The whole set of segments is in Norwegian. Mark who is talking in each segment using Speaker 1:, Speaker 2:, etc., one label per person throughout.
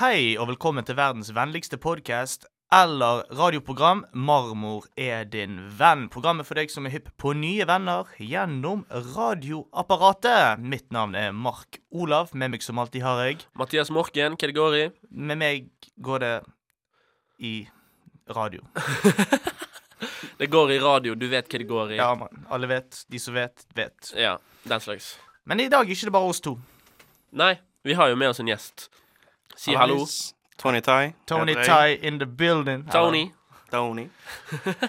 Speaker 1: Hei og velkommen til verdens vennligste podkast eller radioprogram. Marmor er din venn. Programmet for deg som er hypp på nye venner gjennom radioapparatet. Mitt navn er Mark Olav. Med meg som alltid har jeg
Speaker 2: Mathias Morken, hva det går i?
Speaker 1: Med meg går det i radio.
Speaker 2: Det går i radio, du vet hva det går i.
Speaker 1: Ja, man, alle vet. De som vet, vet.
Speaker 2: Ja, den slags.
Speaker 1: Men i dag er ikke det bare oss to.
Speaker 2: Nei, vi har jo med oss en gjest. Si hallo.
Speaker 3: Alice, Tony Tai.
Speaker 1: Tony
Speaker 3: heter jeg.
Speaker 1: Tai in the building.
Speaker 2: Tony.
Speaker 3: Tony.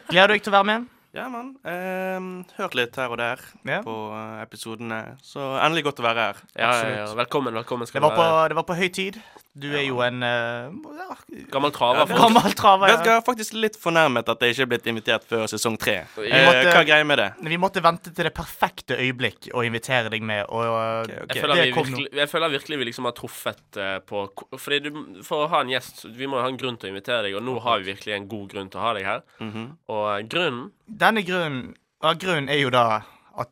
Speaker 1: Gleder du deg til å være med?
Speaker 3: Ja, mann. ehm, hørt litt her og der
Speaker 1: Ja.
Speaker 3: på eh, episodene, så endelig godt å være her.
Speaker 2: Ja, ja, ja.
Speaker 1: absolutt.
Speaker 2: Velkommen, velkommen.
Speaker 1: Det
Speaker 2: skal
Speaker 1: var
Speaker 2: du
Speaker 1: på,
Speaker 2: være.
Speaker 1: det var på høy tid. Du er jo en eh, ja,
Speaker 2: Gammel traver. for-
Speaker 1: gammel traver.
Speaker 3: Vet du hva, jeg er faktisk litt fornærmet at jeg ikke er blitt invitert før sesong tre.
Speaker 2: Vi
Speaker 3: Eh,
Speaker 1: måtte-
Speaker 3: Hva er greia med det?
Speaker 1: Vi måtte vente til det perfekte øyeblikk å invitere deg med, og
Speaker 3: Ok, ok.
Speaker 2: Jeg føler,
Speaker 1: Det
Speaker 2: vi
Speaker 1: kom nå.
Speaker 2: virkelig, jeg føler virkelig vi liksom har truffet eh, på ko- Fordi du, For å ha en gjest, vi må jo ha en grunn til å invitere deg, og nå har vi virkelig en god grunn til å ha deg her.
Speaker 3: Mhm.
Speaker 2: Og eh, grunnen
Speaker 1: denne grunnen ja, Grunnen er jo da at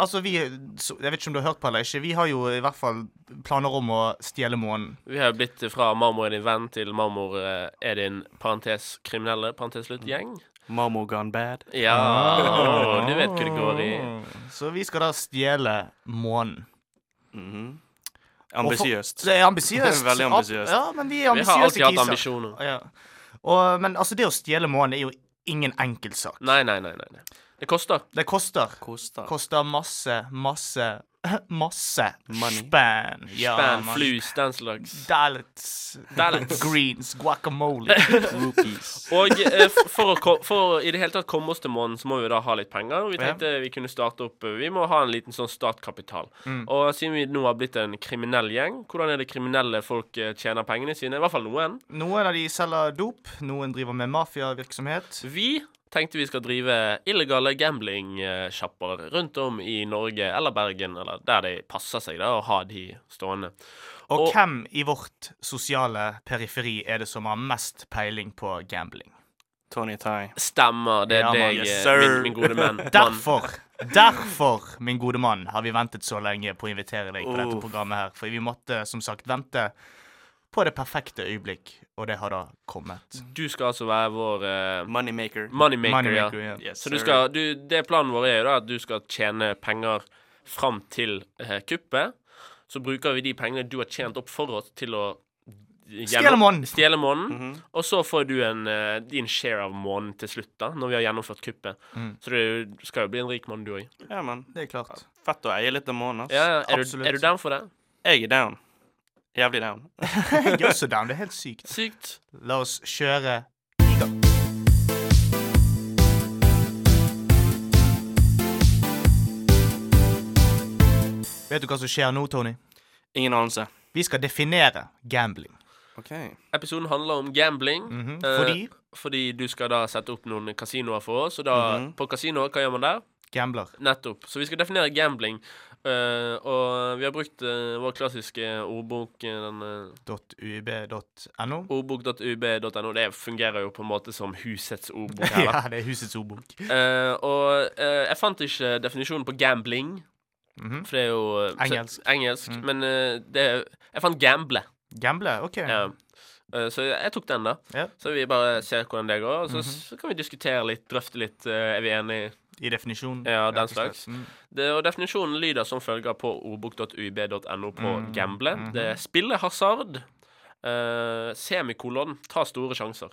Speaker 1: Altså, vi så- Jeg vet ikke om du har hørt på eller ikke, vi har jo i hvert fall planer om å stjele månen.
Speaker 2: Vi har jo blitt fra 'Marmor er din venn' til 'Marmor eh, er din parentes kriminelle parentes slutt gjeng'.
Speaker 3: Marmor gone bad.
Speaker 2: Ja,
Speaker 1: Ah.
Speaker 2: du vet hva det går i.
Speaker 1: Oh. Så vi skal da stjele månen.
Speaker 3: Mhm.
Speaker 1: Og for-
Speaker 3: Ambisiøst.
Speaker 1: Det er ambisiøst.
Speaker 3: Veldig ambisiøst.
Speaker 1: Ja, men vi er
Speaker 2: Vi har
Speaker 1: ambisiøse
Speaker 2: alltid hatt
Speaker 1: kiser.
Speaker 2: ambisjoner.
Speaker 1: Ja. Og, men altså, det å stjele månen er jo ingen enkel sak.
Speaker 2: Nei, nei, nei. nei. nei. Det koster.
Speaker 1: Det koster.
Speaker 3: Koster.
Speaker 1: Koster masse, masse, masse
Speaker 3: Money.
Speaker 1: spenn. Ja,
Speaker 2: Span,
Speaker 1: man.
Speaker 2: flus, den slags.
Speaker 1: Dallots.
Speaker 2: Dallots.
Speaker 1: Greens. Guacamole.
Speaker 3: Rupees.
Speaker 2: Og eh, f- for, å, ko- for å i det hele tatt komme oss til månen, så må vi da ha litt penger. Og vi
Speaker 1: Ja.
Speaker 2: tenkte vi kunne starte opp eh, Vi må ha en liten sånn startkapital.
Speaker 1: Mm.
Speaker 2: Og siden vi nå har blitt en kriminell gjeng, hvordan er det kriminelle folk eh, tjener pengene sine? I hvert fall noen.
Speaker 1: Noen av de selger dop, noen driver med mafiavirksomhet.
Speaker 2: Vi tenkte vi skal drive illegale gambling-sjapper rundt om i Norge eller Bergen, eller der det passer seg da, å ha de stående.
Speaker 1: Og,
Speaker 2: Og-
Speaker 1: hvem i vårt sosiale periferi er det som har mest peiling på gambling?
Speaker 3: Tony Tai.
Speaker 2: Stemmer, det er
Speaker 1: Ja, man.
Speaker 2: deg,
Speaker 3: Yes,
Speaker 2: eh,
Speaker 3: sir.
Speaker 2: min, min gode menn. mann.
Speaker 1: Derfor, derfor, min gode mann, har vi ventet så lenge på å invitere deg på dette
Speaker 3: Uff.
Speaker 1: programmet her. For vi måtte som sagt vente på det perfekte øyeblikk, og det har da kommet.
Speaker 2: Du skal altså være vår eh,
Speaker 3: Moneymaker.
Speaker 2: moneymaker.
Speaker 1: Moneymaker,
Speaker 2: ja.
Speaker 1: ja.
Speaker 3: Yes,
Speaker 2: Så du
Speaker 3: sir.
Speaker 2: skal, du, det planen vår er jo da at du skal tjene penger fram til eh, kuppet. Så bruker vi de pengene du har tjent opp for oss, til å
Speaker 1: Stjele månen. Mm.
Speaker 2: Stjele månen.
Speaker 3: Mhm.
Speaker 2: Og så får du en, eh, din share av månen til slutt, da, når vi har gjennomført kuppet.
Speaker 1: Mm.
Speaker 2: Så du skal jo bli en rik mann, du òg.
Speaker 3: Ja, mann.
Speaker 1: Det er klart.
Speaker 3: Fett å eie litt av månen, ass.
Speaker 2: Ja, ja. er, du-
Speaker 1: absolutt.
Speaker 2: er du down for det?
Speaker 3: Jeg er down. Jævlig down.
Speaker 1: Jeg er også down. Det er helt sykt.
Speaker 2: Sykt.
Speaker 1: La oss kjøre. Vet du hva som skjer nå, Tony?
Speaker 3: Ingen anelse.
Speaker 1: Vi skal definere gambling.
Speaker 3: OK.
Speaker 2: Episoden handler om gambling.
Speaker 1: Mhm.
Speaker 2: eh,
Speaker 1: Fordi
Speaker 2: fordi du skal da sette opp noen kasinoer for oss. Og da,
Speaker 3: Mhm.
Speaker 2: på kasinoer, hva gjør man der?
Speaker 1: gambler.
Speaker 2: Nettopp. Så vi skal definere gambling. eh, og vi har brukt eh, vår klassiske ordbok, eh, den eh,
Speaker 1: .uib.no.
Speaker 2: ordbok.ub.no. Det fungerer jo på en måte som husets ordbok. Her, da.
Speaker 1: Ja, det er husets ordbok.
Speaker 2: Eh, og eh, jeg fant ikke definisjonen på gambling,
Speaker 1: Mhm.
Speaker 2: for det er jo eh,
Speaker 1: Engelsk.
Speaker 2: så- engelsk
Speaker 1: Mm.
Speaker 2: Men eh, det er, jeg fant gamble.
Speaker 1: Gamble? OK.
Speaker 2: Ja. Eh, så jeg tok den, da.
Speaker 1: Mhm. Ja. Mhm.
Speaker 2: Så vi bare ser hvordan det går. Og så, så kan vi diskutere litt, drøfte litt. eh, er vi enige?
Speaker 1: I definisjonen.
Speaker 2: Ja, den
Speaker 1: rett og slett.
Speaker 2: slags.
Speaker 1: Mm.
Speaker 2: Det, og Definisjonen lyder som følger på ordbok.uib.no på
Speaker 1: Mm,
Speaker 2: gamble.
Speaker 1: mhm.
Speaker 2: Det er spille hasard, eh, semikolon, ta store sjanser.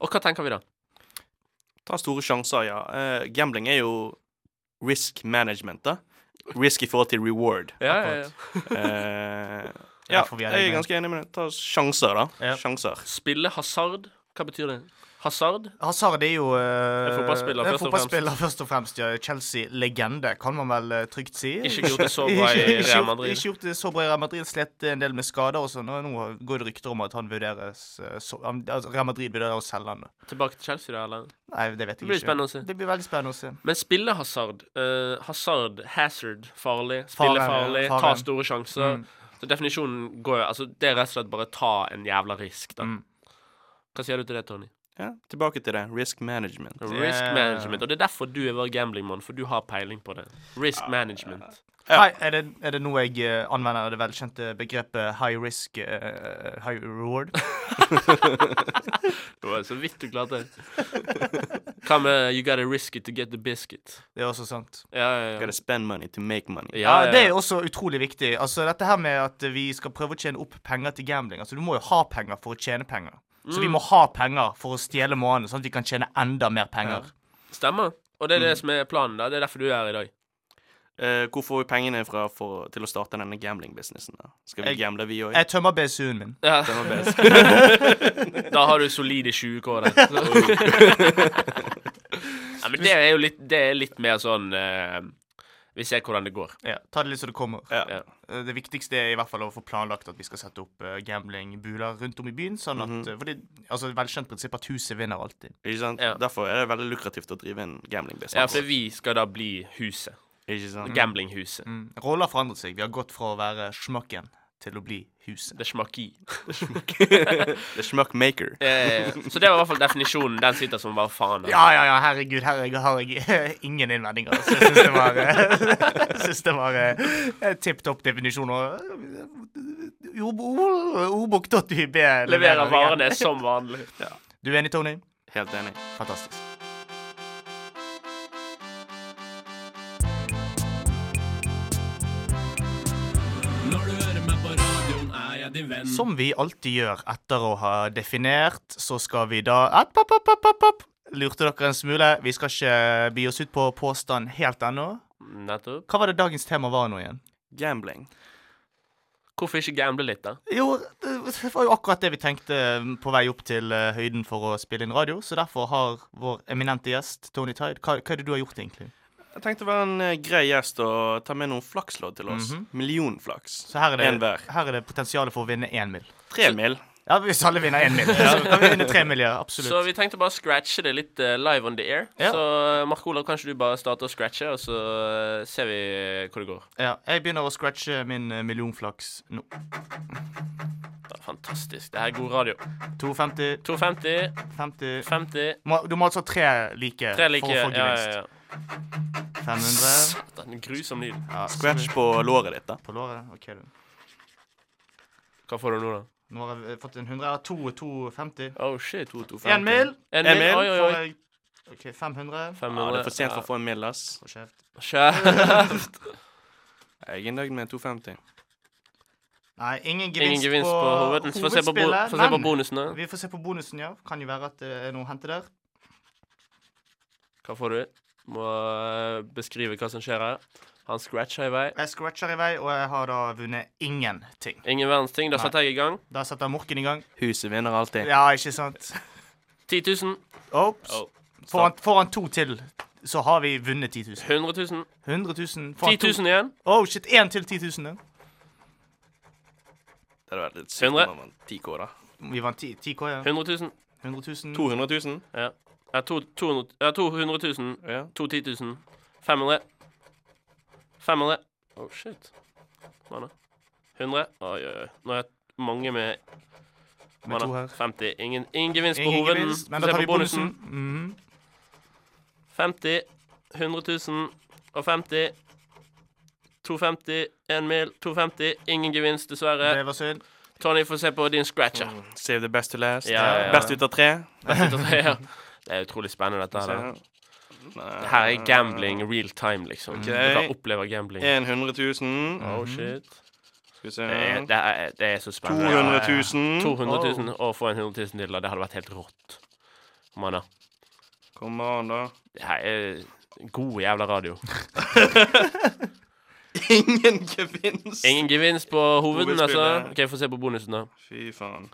Speaker 2: Og hva tenker vi da?
Speaker 3: Ta store sjanser, ja. Eh, gambling er jo risk management, da. Risk i forhold til reward.
Speaker 2: Ja, ja, ja.
Speaker 3: Eh, ja,
Speaker 1: Derfor vi er
Speaker 3: jeg er
Speaker 1: enige.
Speaker 3: ganske enig med det. Ta sjanser, da.
Speaker 1: Ja.
Speaker 3: Sjanser.
Speaker 2: Spille hasard, hva betyr det? Hazard.
Speaker 1: Hazard er jo eh,
Speaker 2: En fotballspiller,
Speaker 1: en
Speaker 2: først og
Speaker 1: fotballspiller først og fremst. Ja, Chelsea-legende, kan man vel eh, trygt si.
Speaker 2: Ikke gjort det så bra i
Speaker 1: Ikke- ikke
Speaker 2: Real
Speaker 1: gjort-
Speaker 2: Madrid.
Speaker 1: Ikke gjort det så bra i Real Madrid. Slet en del med skader og sånn. og Nå går det rykter om at han vurderes eh, så, han- altså, Real Madrid vurderer å selge han.
Speaker 2: Tilbake til Chelsea, da, eller?
Speaker 1: Nei, det vet jeg
Speaker 2: Det blir
Speaker 1: ikke.
Speaker 2: spennende å se.
Speaker 1: Det blir veldig spennende å se.
Speaker 2: Men spille Hazard. eh, hazard, hazard, farlig. Spille
Speaker 1: Faren,
Speaker 2: farlig,
Speaker 1: faren.
Speaker 2: ta store sjanser.
Speaker 1: Mm.
Speaker 2: Så definisjonen går jo Altså, det er rett og slett bare ta en jævla risk, da.
Speaker 1: Mm.
Speaker 2: Hva sier du til det, Tony?
Speaker 3: Ja, tilbake til det. Risk management.
Speaker 2: Risk
Speaker 1: Det-
Speaker 2: management. Og det er derfor du er vår gamblingmann, for du har peiling på det. Risk management.
Speaker 3: Ja.
Speaker 1: Hei, er, det, er det nå jeg eh, anvender det velkjente begrepet high risk, eh, high reward?
Speaker 2: Det var så vidt du klarte det. Hva med You gotta risk it to get the biscuit?
Speaker 1: Det er også sant.
Speaker 2: Ja, ja, ja.
Speaker 3: Gotta spend money to make money.
Speaker 1: Ja,
Speaker 2: ja,
Speaker 1: Det er jo
Speaker 2: ja.
Speaker 1: også utrolig viktig. Altså, Dette her med at vi skal prøve å tjene opp penger til gambling. Altså, Du må jo ha penger for å tjene penger. Så
Speaker 2: Mm.
Speaker 1: vi må ha penger for å stjele måneden, sånn at vi kan tjene enda mer penger.
Speaker 2: Stemmer. Og det er det som er planen. da Det er derfor du er her i dag.
Speaker 3: Eh, hvor får vi pengene fra for, til å starte denne gambling-businessen? da? Skal vi
Speaker 1: Jeg-
Speaker 3: gamble, vi òg?
Speaker 1: Jeg tømmer BSU-en min.
Speaker 2: Ja.
Speaker 3: Den var best.
Speaker 2: Da har du solide 20 K der. ja, men det er jo litt, det er litt mer sånn eh, Vi ser hvordan det går.
Speaker 1: Ja, Ta det litt så det kommer.
Speaker 3: Ja.
Speaker 2: Ja.
Speaker 1: Eh, Det viktigste er i hvert fall å få planlagt at vi skal sette opp eh, gamblingbuler rundt om i byen. sånn at, eh, fordi, altså et Velkjent prinsipp at huset vinner alltid.
Speaker 3: Ikke sant?
Speaker 2: Ja.
Speaker 3: Derfor er det veldig lukrativt å drive en
Speaker 2: Ja, for
Speaker 3: gambling-business.
Speaker 2: vi skal da bli huset.
Speaker 3: Ikke sant?
Speaker 2: Gamblinghuset.
Speaker 1: Mm. Roller har forandret seg. Vi har gått fra å være schmucken til å bli huset.
Speaker 2: Det smaki.
Speaker 3: The schmuck maker.
Speaker 2: Eh, så det var i hvert fall definisjonen. Den sitter som bare faen. da.
Speaker 1: Ja, ja, ja, herregud, her er- har jeg ingen innvendinger. Så jeg syns det var, eh, synes det var eh, tipp topp definisjon. og, eh, ord- ord- Ordbok.yb
Speaker 2: Leverer varene som vanlig.
Speaker 1: Du er enig, Tony?
Speaker 3: Helt enig.
Speaker 1: Fantastisk.
Speaker 4: Når du hører meg på radioen, er jeg din venn.
Speaker 1: Som vi alltid gjør etter å ha definert, så skal vi da app, app, app, app, app, app. Lurte dere en smule? Vi skal ikke bi oss ut på påstand helt ennå.
Speaker 2: Nettopp.
Speaker 1: Hva var det dagens tema var nå igjen?
Speaker 3: Gambling.
Speaker 2: Hvorfor ikke gamble litt, da?
Speaker 1: Jo, det var jo akkurat det vi tenkte mm, på vei opp til eh, høyden for å spille inn radio, så derfor har vår eminente gjest, Tony Tide Hva, hva er det du har gjort, egentlig?
Speaker 3: Jeg tenkte det var en eh, grei gjest å ta med noen flakslodd til oss.
Speaker 2: Mhm.
Speaker 3: Millionflaks.
Speaker 1: Så her er
Speaker 3: En
Speaker 1: det,
Speaker 3: hver.
Speaker 1: her er det potensialet for å vinne én mil.
Speaker 3: Tre mil.
Speaker 1: Ja, hvis alle vinner én mil, så kan vi vinne tre mil, ja. Absolutt.
Speaker 2: Så vi tenkte bare å scratche det litt eh, live on the air.
Speaker 1: Ja.
Speaker 2: Så eh, Mark Olav, kanskje du bare starter å scratche, og så eh, ser vi hvor det går.
Speaker 1: Ja, jeg begynner å scratche min eh, millionflaks nå.
Speaker 2: Ja, Fantastisk. Det her er god radio.
Speaker 1: 250,
Speaker 2: 250,
Speaker 1: 50
Speaker 2: 50
Speaker 1: må, Du må altså ha tre like,
Speaker 2: Tre like.
Speaker 1: for å
Speaker 2: Ja,
Speaker 1: få
Speaker 2: ja,
Speaker 1: gevinst.
Speaker 2: ja.
Speaker 1: 500
Speaker 2: Satan, grusom lyd.
Speaker 1: ja, så
Speaker 3: Scratch på låret ditt, da.
Speaker 1: På låret. OK, du.
Speaker 2: Hva får du nå, da?
Speaker 1: Nå har jeg eh, fått en 100. Ja, to- 250.
Speaker 2: Oh shit. 225.
Speaker 1: Én mil.
Speaker 2: En
Speaker 3: En
Speaker 2: mil.
Speaker 3: mil.
Speaker 2: Oi, oi,
Speaker 1: Får
Speaker 2: oi.
Speaker 1: jeg OK, 500.
Speaker 2: 500.
Speaker 3: Ja, det er for sent for å få en mil, ass.
Speaker 1: Få kjeft.
Speaker 2: Kjeft.
Speaker 3: Jeg er nøyd med 250.
Speaker 1: Nei, ingen gevinst,
Speaker 2: Ingen gevinst på hovedspillet. Få se på, bo
Speaker 1: hovedspillet,
Speaker 2: få se på
Speaker 1: men
Speaker 2: bonusene.
Speaker 1: Vi får se på bonusen, ja. Kan jo være at det er noe å hente der.
Speaker 2: Hva får du? Må eh, beskrive hva som skjer her. Han scratcher i vei.
Speaker 1: Jeg scratcher i vei, og jeg har da vunnet ingenting.
Speaker 2: Ingen verdens ting. Da
Speaker 1: Nei.
Speaker 2: setter jeg i gang.
Speaker 1: Da setter Morken i gang.
Speaker 3: Huset vinner alltid.
Speaker 1: Ja, ikke sant?
Speaker 2: 10 000.
Speaker 1: Ops.
Speaker 2: Oh.
Speaker 1: Får han, får han to til, så har vi vunnet 10 000.
Speaker 2: 100 000.
Speaker 1: 100 000. Får
Speaker 2: 10
Speaker 1: han to-
Speaker 2: 000 igjen.
Speaker 1: Oh shit, én til 10 000. ja.
Speaker 3: Det hadde vært litt sykt
Speaker 2: 100.
Speaker 3: om man 10K, da.
Speaker 1: Vi vant 10 10K, ja.
Speaker 2: 100 000.
Speaker 1: 100 000.
Speaker 3: 200 000?
Speaker 2: Ja. Ja, to, 200, ja, 200 000.
Speaker 3: Ja.
Speaker 2: 2 10 000. 500. 500. Oh, shit. Mana. 100. Oi, oi, oi. Nå er jeg mange med
Speaker 1: Med to her.
Speaker 2: 50. Ingen, ingen gevinst på
Speaker 1: Ingen
Speaker 2: hoveden.
Speaker 1: gevinst, men
Speaker 2: Se
Speaker 1: da tar
Speaker 2: på
Speaker 1: vi bonusen. Mhm.
Speaker 2: 50. 100 000. Og 50. 250. En mil. 250. Ingen gevinst, dessverre.
Speaker 1: Det var synd.
Speaker 2: Tony får se på din scratcher.
Speaker 3: Save the best to last.
Speaker 2: Ja, ja, ja.
Speaker 3: Best ut av tre.
Speaker 2: Det er utrolig spennende, dette her. da.
Speaker 3: eh,
Speaker 2: Det her er gambling real time, liksom. Du bare opplever gambling.
Speaker 3: 100 000.
Speaker 2: Oh, shit.
Speaker 3: Skal vi se
Speaker 2: Det er, det er, det er så spennende.
Speaker 3: 200 000.
Speaker 2: 200 000 og få en 100 000 til, da. Det hadde vært helt rått. Manna.
Speaker 3: Kom an, da.
Speaker 2: Det her er god jævla radio.
Speaker 3: Ingen gevinst!
Speaker 2: Ingen gevinst på hoveden,
Speaker 3: Hovedspillet.
Speaker 2: altså. OK, få se på bonusen, da.
Speaker 3: Fy faen.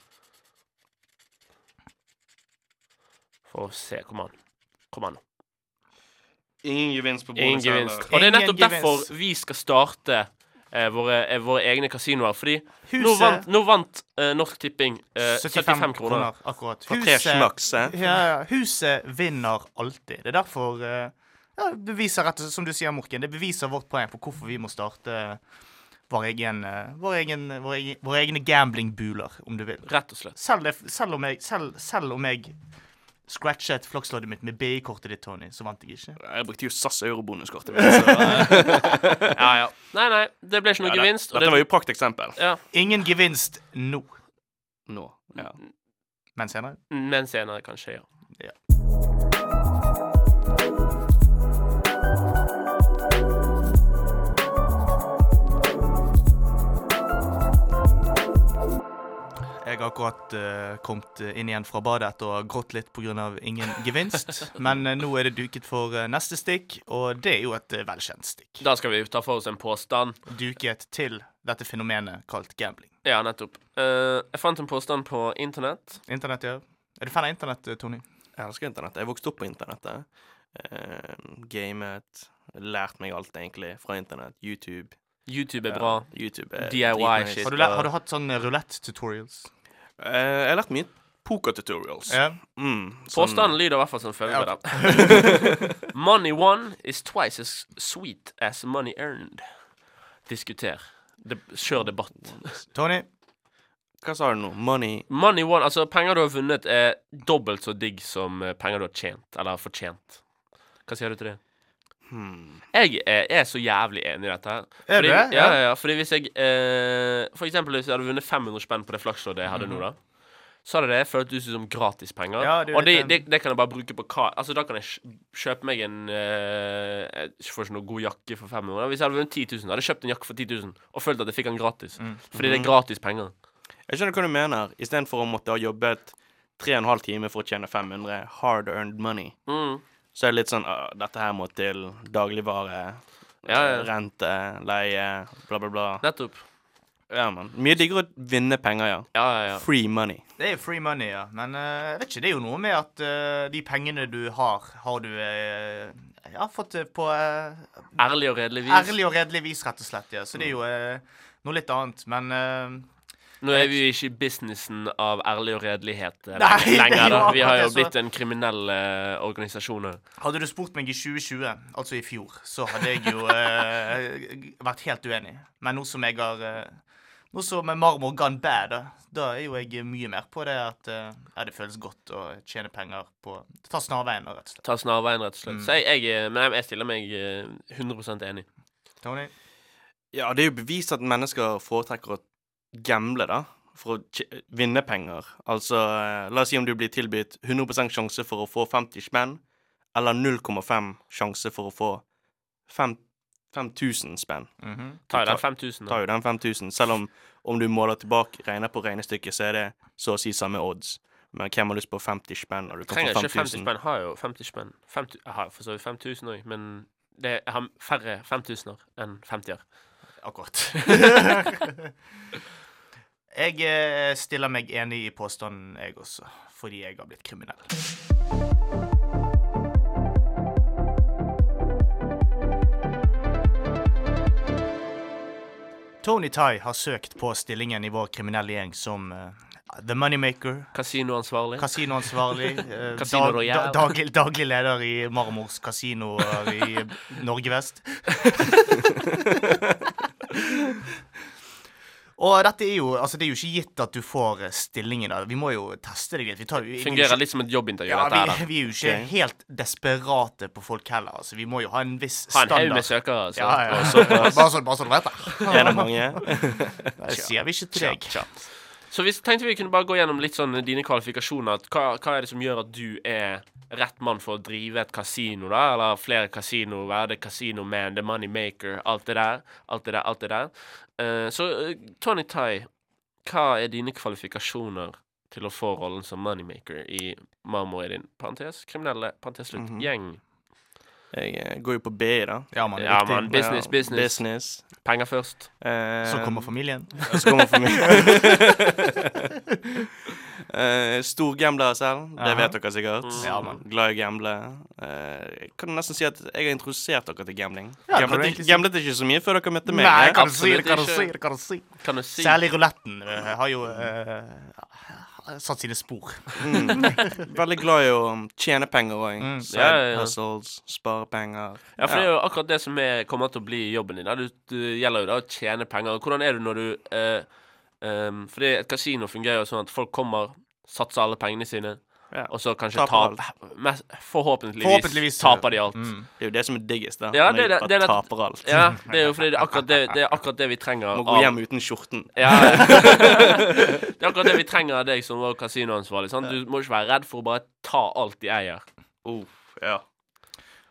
Speaker 2: For å se. Kom an. Kom an. nå.
Speaker 3: Ingen gevinst på
Speaker 2: Ingen
Speaker 3: bonus
Speaker 2: gevinst.
Speaker 3: heller.
Speaker 2: Og det er
Speaker 1: Ingen
Speaker 2: nettopp
Speaker 1: gevinst.
Speaker 2: derfor vi skal starte eh, våre, eh, våre egne kasinoer. Fordi nå
Speaker 1: Huset-
Speaker 2: vant, nå vant eh, Norsk Tipping eh, 75, kroner.
Speaker 1: Akkurat.
Speaker 3: For tre slags, eh?
Speaker 1: ja, ja, huset vinner alltid. Det er derfor eh, ja, beviser rett, og slett, Som du sier, Morken, det beviser vårt poeng på hvorfor vi må starte eh, vår egen, eh, vår egen, vår egen våre egne gambling-buler, om du vil.
Speaker 2: Rett og slett.
Speaker 1: Selv, det, selv, om jeg, selv, selv om jeg scratchet floksloddet mitt med BI-kortet ditt, Tony, så vant jeg ikke.
Speaker 3: Jeg brukte jo SAS eurobonuskortet. mitt, så, eh,
Speaker 2: Ja, ja. Nei, nei, det ble ikke noe
Speaker 3: ja, det-
Speaker 2: gevinst. og
Speaker 3: Dette
Speaker 2: det-
Speaker 3: var jo et prakteksempel.
Speaker 2: ja,
Speaker 1: Ingen gevinst nå,
Speaker 3: Nå. Ja.
Speaker 1: men senere.
Speaker 2: Men senere, kanskje. ja
Speaker 1: Jeg har akkurat eh, kommet inn igjen fra badet etter å ha grått litt pga. ingen gevinst. Men eh, nå er det duket for eh, neste stikk, og det er jo et eh, velkjent stikk.
Speaker 2: Da skal vi ta for oss en påstand.
Speaker 1: Duket til dette fenomenet kalt gambling.
Speaker 2: Ja, nettopp. Eh, jeg fant en påstand på internett.
Speaker 1: Internett, ja. Er du fan av internett, eh, Tony?
Speaker 3: Jeg elsker internett. Jeg vokste opp på internettet. Eh, gamet. Lært meg alt, egentlig, fra internett. YouTube.
Speaker 2: YouTube er bra.
Speaker 3: Ja, YouTube eh, er
Speaker 2: DIY
Speaker 3: dritnice.
Speaker 2: shit.
Speaker 1: Har du, lært, har du hatt sånn rulett-tutorials?
Speaker 3: Eh, jeg har lært mye poker-tutorials.
Speaker 1: Ja.
Speaker 3: Mm, sånn-
Speaker 2: Påstanden lyder i hvert fall som følger.
Speaker 1: Ja,
Speaker 2: da. money won is twice as sweet as money earned. Diskuter. De Kjør debatt.
Speaker 1: Tony?
Speaker 3: Hva sa du nå? Money
Speaker 2: Money won, altså penger du har vunnet, er dobbelt så digg som eh, penger du har tjent. Eller har fortjent. Hva sier du til det?
Speaker 3: hmm.
Speaker 2: Jeg er, er så jævlig enig i dette her.
Speaker 1: Er du
Speaker 2: fordi,
Speaker 1: det?
Speaker 2: Ja, ja, ja, fordi hvis jeg eh, For eksempel hvis jeg hadde vunnet 500 spenn på det flaksloddet jeg hadde nå, da. Så hadde det føltes ut som gratispenger.
Speaker 1: Hmm. Ja, det er jo
Speaker 2: og det,
Speaker 1: litt,
Speaker 2: det, det kan jeg bare bruke på hva Altså, da kan jeg kj- kjøpe meg en eh, Jeg får ikke noe god jakke for 500. Hvis jeg hadde vunnet 10 000, hadde jeg kjøpt en jakke for 10 000 og følt at jeg fikk den gratis.
Speaker 1: Mm.
Speaker 2: Fordi det er gratis penger.
Speaker 3: Jeg skjønner hva du mener. Istedenfor å måtte ha jobbet tre og en halv time for å tjene 500 hard earned money,
Speaker 2: Mm.
Speaker 3: så er det litt sånn «Åh, Dette her må til dagligvare,
Speaker 2: Ja, ja.
Speaker 3: rente, leie, bla, bla, bla.
Speaker 2: Nettopp.
Speaker 3: Ja, man. Mye diggere å vinne penger, ja.
Speaker 2: Ja, ja, ja.
Speaker 3: Free money.
Speaker 1: Det er free money, ja. Men eh, jeg vet ikke, det er jo noe med at eh, de pengene du har, har du eh, ja, fått eh, på eh,
Speaker 2: Ærlig og redelig vis.
Speaker 1: ærlig og redelig vis, rett og slett. ja. Så det er jo eh, noe litt annet. Men eh,
Speaker 2: Nå er vi jo ikke i businessen av ærlig og redelighet eh,
Speaker 1: Nei, det er
Speaker 2: lenger.
Speaker 1: jo
Speaker 2: da Vi har
Speaker 1: akkurat det,
Speaker 2: jo
Speaker 1: så-
Speaker 2: blitt en kriminell eh, organisasjon. her.
Speaker 1: Hadde du spurt meg i 2020, altså i fjor, så hadde jeg jo eh, vært helt uenig. Men nå som jeg har eh, Nå som marmor gone bad, da, da er jo jeg mye mer på det at eh, ja, det føles godt å tjene penger på Ta snarveien, da, rett og slett.
Speaker 2: Ta snarveien, rett og slett. Så jeg, jeg, eh, men jeg- jeg stiller meg eh, 100 enig.
Speaker 1: Tony?
Speaker 3: Ja, det er jo bevist at mennesker foretrekker å gamble, da. For å tj- vinne penger. Altså, eh, la oss si om du blir tilbudt 100 sjanse for å få 50 spenn, eller 0,5 sjanse for å få fem- 5000 spenn.
Speaker 1: Mhm.
Speaker 2: Ta jo den
Speaker 3: Ta-
Speaker 2: 5000.
Speaker 3: tar
Speaker 2: da.
Speaker 3: jo den 5000, selv om om du måler tilbake, regner på regnestykket, så er det så å si samme odds. Men hvem har lyst på 50 spenn når du kan
Speaker 2: Trenger
Speaker 3: få
Speaker 2: ikke 50
Speaker 3: 5000?
Speaker 2: spenn. Har jo 50 spenn. 50, jeg har for så vidt 5000 òg, men det, jeg har færre 5000-er enn 50-er.
Speaker 1: Akkurat. jeg eh, stiller meg enig i påstanden, jeg også, fordi jeg har blitt kriminell. Tony Tai har søkt på stillingen i vår kriminelle gjeng som eh, The Moneymaker,
Speaker 2: Kasinoansvarlig.
Speaker 1: kasinoansvarlig, eh,
Speaker 2: Kasino
Speaker 1: dag, da,
Speaker 2: Royale.
Speaker 1: daglig, daglig leder i Marmors kasinoer i Norge vest. Og dette er jo, altså det er jo ikke gitt at du får eh, stillingen. da. Vi må jo teste deg litt. Vi tar, vi, vi er jo
Speaker 2: Fungerer
Speaker 1: ikke-
Speaker 2: litt som et jobbintervju,
Speaker 1: ja,
Speaker 2: dette
Speaker 1: vi,
Speaker 2: her. da.
Speaker 1: vi er jo ikke
Speaker 3: Ok.
Speaker 1: helt desperate på folk heller. altså Vi må jo ha en viss
Speaker 2: Ha en
Speaker 1: standard.
Speaker 2: haug med søkere. altså. Så.
Speaker 1: Ja, ja.
Speaker 2: og så-
Speaker 1: Bare så, bare så du vet det.
Speaker 3: Er det mange?
Speaker 1: Det sier vi ikke til deg.
Speaker 2: Så vi tenkte vi kunne bare gå gjennom litt sånn dine kvalifikasjoner. At hva, hva er det som gjør at du er rett mann for å drive et kasino, da? Eller flere kasino, være det casino man, the money maker, alt det der. Alt det der, alt det der. Eh, så eh, Tony Tai, hva er dine kvalifikasjoner til å få rollen som moneymaker i Marmor er din parentes, kriminelle parentes slutt,
Speaker 3: Mhm.
Speaker 2: gjeng?
Speaker 3: Jeg eh, går jo på BI, da.
Speaker 1: Ja, man,
Speaker 2: Ja,
Speaker 1: riktig.
Speaker 2: man, business,
Speaker 3: Ja,
Speaker 2: business.
Speaker 3: business.
Speaker 2: Penger først.
Speaker 3: Eh,
Speaker 1: Så kommer familien.
Speaker 3: så kommer familien. Eh, eh, stor gambler selv. Det
Speaker 1: Aha.
Speaker 3: vet dere sikkert.
Speaker 2: Mm.
Speaker 1: Ja, man.
Speaker 3: Glad i å gamble. Eh, jeg kan nesten si at jeg har introdusert dere til gambling.
Speaker 1: Ja, kan du
Speaker 3: gamblet,
Speaker 1: egentlig si.
Speaker 3: gamblet ikke så mye før dere møtte meg.
Speaker 1: Nei, kan du si
Speaker 2: eh, absolutt
Speaker 1: det, kan du
Speaker 2: ikke.
Speaker 1: si det, kan du si
Speaker 2: Kan du si
Speaker 1: Særlig ruletten eh, har jo eh, satt sine spor.
Speaker 3: Veldig glad i å um, tjene penger òg.
Speaker 1: Mm.
Speaker 3: Side
Speaker 2: Ja, ja, ja.
Speaker 3: hustles, spare penger.
Speaker 2: Ja, for det er jo akkurat det som er, kommer til å bli jobben din. da. Du, du gjelder jo da å tjene penger. Hvordan er du når du eh, ehm, Fordi et kasino fungerer jo sånn at folk kommer, satser alle pengene sine,
Speaker 3: Ja.
Speaker 2: og så kanskje
Speaker 3: Taper
Speaker 2: taper mest, Forhåpentligvis, eh,
Speaker 1: Forhåpentligvis,
Speaker 2: taper de alt.
Speaker 1: Mm.
Speaker 3: Det er jo det som er diggest. da
Speaker 2: Ja,
Speaker 3: Når
Speaker 2: det er
Speaker 3: jeg
Speaker 2: det-
Speaker 3: bare
Speaker 2: det er det-
Speaker 3: taper alt.
Speaker 2: Ja, det er jo fordi det er akkurat det, det, er akkurat det vi trenger.
Speaker 3: Må
Speaker 2: av-
Speaker 3: gå hjem uten skjorten.
Speaker 2: Ja. det er akkurat det vi trenger av deg som vår kasinoansvarlig. Sant? Du må ikke være redd for å bare ta alt de eier.
Speaker 3: Oh, ja.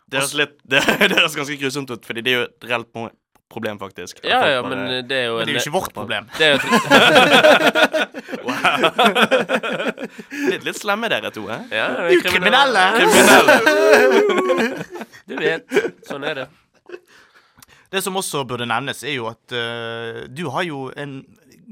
Speaker 3: Det høres litt Det det høres ganske grusomt ut, Fordi det er jo et reelt pro- problem, faktisk. At
Speaker 2: Ja,
Speaker 3: folk
Speaker 2: ja,
Speaker 3: bare-
Speaker 2: men eh, det er jo
Speaker 1: Men eh, det er jo ikke vårt problem.
Speaker 2: det er jo et-
Speaker 3: Litt, litt slemme dere to, hæ?
Speaker 2: ja, det er
Speaker 1: Du kriminelle!
Speaker 3: Kriminelle.
Speaker 2: Du vet. Sånn er det.
Speaker 1: Det som også burde nevnes, er jo at eh, du har jo en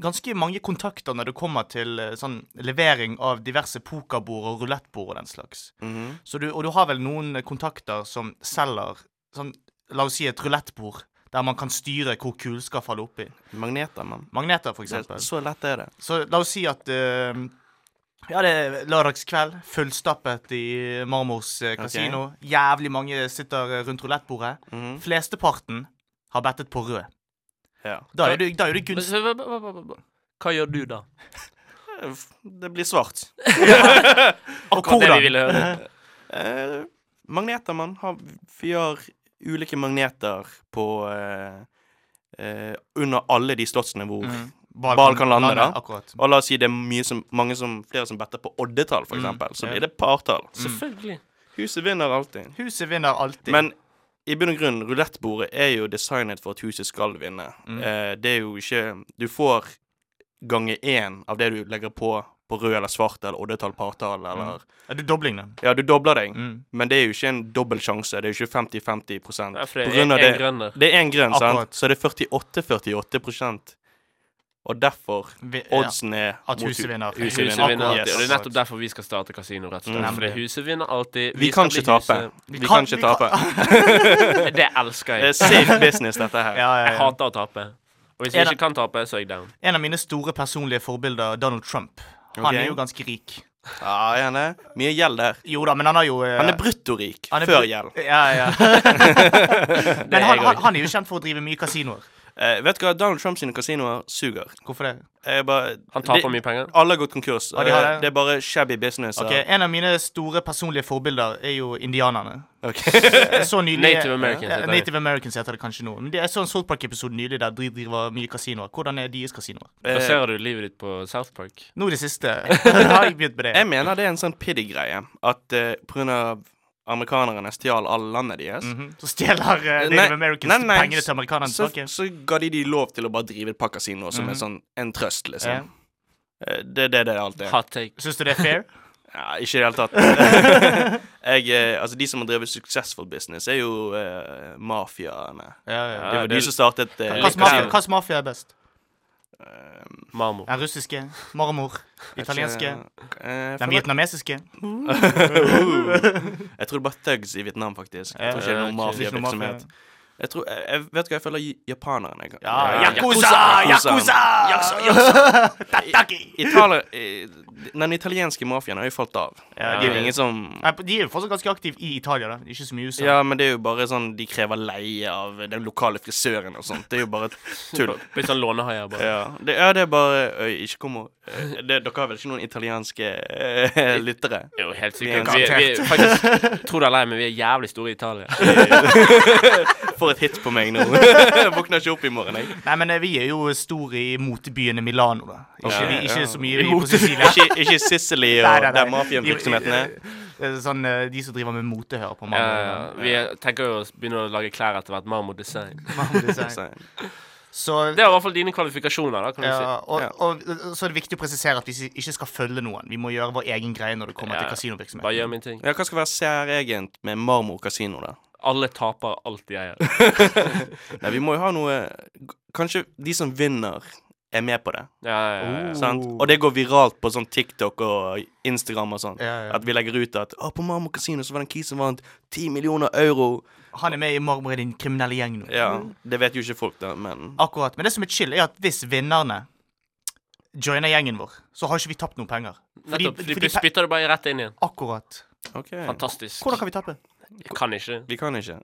Speaker 1: ganske mange kontakter når det kommer til eh, sånn levering av diverse pokerbord og rulettbord og den slags.
Speaker 3: Mhm.
Speaker 1: Så du, og du har vel noen kontakter som selger sånn, La oss si et rulettbord, der man kan styre hvor kulen skal falle oppi.
Speaker 3: Magneter, mann.
Speaker 1: Magneter, for
Speaker 3: Det-
Speaker 1: eksempel.
Speaker 3: Så lett er det.
Speaker 1: Så la oss si at eh, Ja, det er lørdagskveld, fullstappet i Marmors eh, kasino. Jævlig mange sitter eh, rundt rulettbordet.
Speaker 3: Mhm.
Speaker 1: Flesteparten har bettet på rød.
Speaker 3: Ja.
Speaker 1: Da er det, da er det
Speaker 2: Men
Speaker 1: gunstig.
Speaker 2: så- hva- hva- hva- hva- Hva gjør du da?
Speaker 3: Eh, Det blir svart.
Speaker 1: Og
Speaker 2: Akkurat det vi
Speaker 1: hvordan?
Speaker 2: ville høre. Mm.
Speaker 3: Eh, magneter, mann. Har- Vi har ulike magneter på eh, eh, Under alle de slottene hvor
Speaker 1: Mm.
Speaker 3: Ball kan lande, da.
Speaker 1: Akkurat.
Speaker 3: Og la oss si det er mye som, mange som, flere som better på oddetall, for
Speaker 1: Mm,
Speaker 3: eksempel.
Speaker 1: ja.
Speaker 3: Så blir det partall.
Speaker 2: Selvfølgelig.
Speaker 3: Huset vinner alltid.
Speaker 1: Huset vinner alltid.
Speaker 3: Men i bunn og grunn, rulettbordet er jo designet for at huset skal vinne. Eh, det er jo ikke Du får gange én av det du legger på på rød eller svart eller oddetall, partall eller
Speaker 1: er det dobling, da?
Speaker 3: Ja, du dobler deg,
Speaker 1: Mm.
Speaker 3: men det er jo ikke en dobbel sjanse. Det er jo ikke 50-50
Speaker 2: Ja,
Speaker 3: prosent.
Speaker 2: for det
Speaker 3: På
Speaker 2: er
Speaker 3: grunn av
Speaker 2: en
Speaker 3: det-
Speaker 2: grønn der.
Speaker 3: Det er én grønn, sant?
Speaker 1: Akkurat.
Speaker 3: Så det er 48-48 prosent. Og derfor
Speaker 1: Vi, ja.
Speaker 3: oddsen er
Speaker 1: At
Speaker 3: mot
Speaker 1: huset
Speaker 3: hu-
Speaker 1: vinner.
Speaker 3: Huset
Speaker 2: Huset
Speaker 3: vinner.
Speaker 2: vinner alltid.
Speaker 3: Yes.
Speaker 2: Og det er nettopp derfor vi skal starte kasino, rett og slett.
Speaker 3: Mm.
Speaker 2: Fordi huset vinner alltid.
Speaker 3: Vi kan
Speaker 2: skal
Speaker 3: ikke
Speaker 2: bli
Speaker 3: tape. Vi kan ikke tape.
Speaker 2: huset- Det elsker
Speaker 3: Det er
Speaker 2: jeg.
Speaker 3: safe business, dette her.
Speaker 1: Ja, ja,
Speaker 2: Jeg
Speaker 1: ja.
Speaker 2: hater å tape. Og hvis
Speaker 1: Er
Speaker 2: jeg
Speaker 1: det-
Speaker 2: ikke kan tape, så er jeg down.
Speaker 1: En av mine store personlige forbilder, Donald Trump. Han
Speaker 3: Ok.
Speaker 1: er jo ganske rik.
Speaker 3: Ja, er han det? Mye gjeld der.
Speaker 1: Jo da, men han har jo eh,
Speaker 3: Han er bruttorik
Speaker 1: han er
Speaker 3: før
Speaker 1: bru-
Speaker 3: gjeld.
Speaker 1: Ja, ja.
Speaker 2: Det er
Speaker 1: Men han,
Speaker 2: jeg
Speaker 1: han,
Speaker 2: også.
Speaker 1: han er jo kjent for å drive mye kasinoer.
Speaker 3: Eh, vet du hva, Donald Trump sine kasinoer suger.
Speaker 1: Hvorfor det?
Speaker 3: Jeg bare,
Speaker 2: Han taper
Speaker 3: de-
Speaker 2: mye penger.
Speaker 3: Alle har gått konkurs.
Speaker 1: de har det.
Speaker 3: Eh, Det er bare shabby business.
Speaker 1: Ok, En av mine store personlige forbilder er jo indianerne.
Speaker 3: og- Ok.
Speaker 1: Jeg så nylig
Speaker 2: Native Americans
Speaker 1: Ja,
Speaker 2: heter det.
Speaker 1: Native Americans heter det kanskje nå. Men det- Jeg så en South Park-episode nylig der de driver mye kasinoer. Hvordan er deres kasinoer?
Speaker 3: Eh,
Speaker 2: Baserer du livet ditt på South Park?
Speaker 1: Nå i det siste har jeg begynt med det.
Speaker 3: jeg mener det er en sånn piddy-greie. At eh, på grunn av amerikanerne stjal alle landet deres,
Speaker 1: Mhm. Så stjeler eh, Native Americans
Speaker 3: nei, nei,
Speaker 1: pengene til amerikanerne
Speaker 3: så,
Speaker 1: tilbake.
Speaker 3: så ga de de lov til å bare drive et par kasinoer som
Speaker 1: Mhm.
Speaker 3: en sånn en trøst, liksom. Eh, Det er det det alltid er.
Speaker 2: Hot take.
Speaker 1: Syns du det er fair?
Speaker 3: Ja, ikke i det hele tatt. jeg, eh, altså, de som har drevet successful business, er jo eh, mafiaene.
Speaker 1: Ja,
Speaker 2: ja.
Speaker 3: Det var
Speaker 2: det-
Speaker 3: de som startet eh,
Speaker 1: Hvilken mafia, hvilken mafia er best?
Speaker 2: Marmor.
Speaker 1: Den russiske? Marmor? Italienske?
Speaker 3: Eh,
Speaker 1: Den vietnamesiske?
Speaker 3: Jeg tror det er bare thugs i Vietnam, faktisk. Jeg tror ikke det er
Speaker 2: Ja,
Speaker 3: noen
Speaker 1: Eh,
Speaker 2: ok.
Speaker 1: Ikke noe mafia.
Speaker 3: mafiavirksomhet. Jeg tror, eh, jeg, jeg vet hva jeg føler i- japanerne jeg-
Speaker 1: Ja,
Speaker 3: Eh,
Speaker 1: Yakuza! Yakuza! Tataki!
Speaker 3: Italia, eh, den italienske mafiaen har jo falt av.
Speaker 1: Ja,
Speaker 3: det
Speaker 1: de,
Speaker 3: er jo ingen som
Speaker 1: nei, de er jo fortsatt ganske aktive i Italia, da. Ikke så mye i USA.
Speaker 3: Ja, men det er jo bare sånn de krever leie av den lokale frisøren og sånt. Det er jo bare tull.
Speaker 2: Litt sånn lånehaier, bare.
Speaker 3: Ja, det, ja, det er bare øy, Ikke kom og eh, det, Dere har vel ikke noen italienske eh, lyttere?
Speaker 2: Jo, helt
Speaker 3: Vi er
Speaker 2: sikkert. Vi, vi, er faktisk, tror det eller ei, men vi er jævlig store i Italia.
Speaker 3: For et hit på meg nå. Jeg våkner ikke opp i morgen, jeg.
Speaker 1: Nei, men eh, vi er jo store i motebyene Milano, da. Ikke,
Speaker 3: Ok,
Speaker 1: vi, ikke
Speaker 3: ja.
Speaker 1: så mye vi på Sicilia.
Speaker 3: Ikke, ikke Sicily og
Speaker 1: Nei, nei, nei.
Speaker 3: der mafiavirksomheten er.
Speaker 1: Eh, Sånn, eh, de som driver med mote, hører på
Speaker 2: Ja,
Speaker 1: Marmor.
Speaker 2: ja, ja. Eh, vi er- tenker jo å begynne å lage klær etter hvert. Marmor design.
Speaker 1: Marmor Design.
Speaker 3: Så-
Speaker 1: Så
Speaker 2: Det er i hvert fall dine kvalifikasjoner, da, kan du
Speaker 1: Ja,
Speaker 2: si.
Speaker 1: og,
Speaker 3: Ja.
Speaker 1: og så er det viktig å presisere at vi si- ikke skal følge noen. Vi må gjøre vår egen greie når det kommer
Speaker 2: Ja,
Speaker 1: til
Speaker 2: ja.
Speaker 1: kasinovirksomhet.
Speaker 2: Bare gjør min ting.
Speaker 3: Ja, hva skal være særegent med Marmor kasino, da?
Speaker 2: Alle taper alt de eier.
Speaker 3: Nei, vi må jo ha noe Kanskje de som vinner er med på det.
Speaker 2: Ja, ja, ja,
Speaker 1: Oh.
Speaker 2: ja.
Speaker 3: Sant? Og det går viralt på sånn TikTok og Instagram og sånn.
Speaker 1: Ja, ja.
Speaker 3: At vi legger ut at Å, på Marmo Casino så var det en kis som vant 10 millioner euro.
Speaker 1: Han er med i Marmor i din kriminelle gjeng nå.
Speaker 3: Ja, Det vet jo ikke folk, da, men
Speaker 1: Akkurat. Men det som er chill, er at hvis vinnerne joiner gjengen vår, så har ikke vi tapt noen penger. fordi
Speaker 2: Nettopp. De blir-
Speaker 1: pe-
Speaker 2: spytter det bare rett inn igjen.
Speaker 1: Akkurat.
Speaker 3: OK.
Speaker 2: Fantastisk.
Speaker 1: Hvordan kan vi tape?
Speaker 2: Jeg kan ikke.
Speaker 3: Vi kan ikke.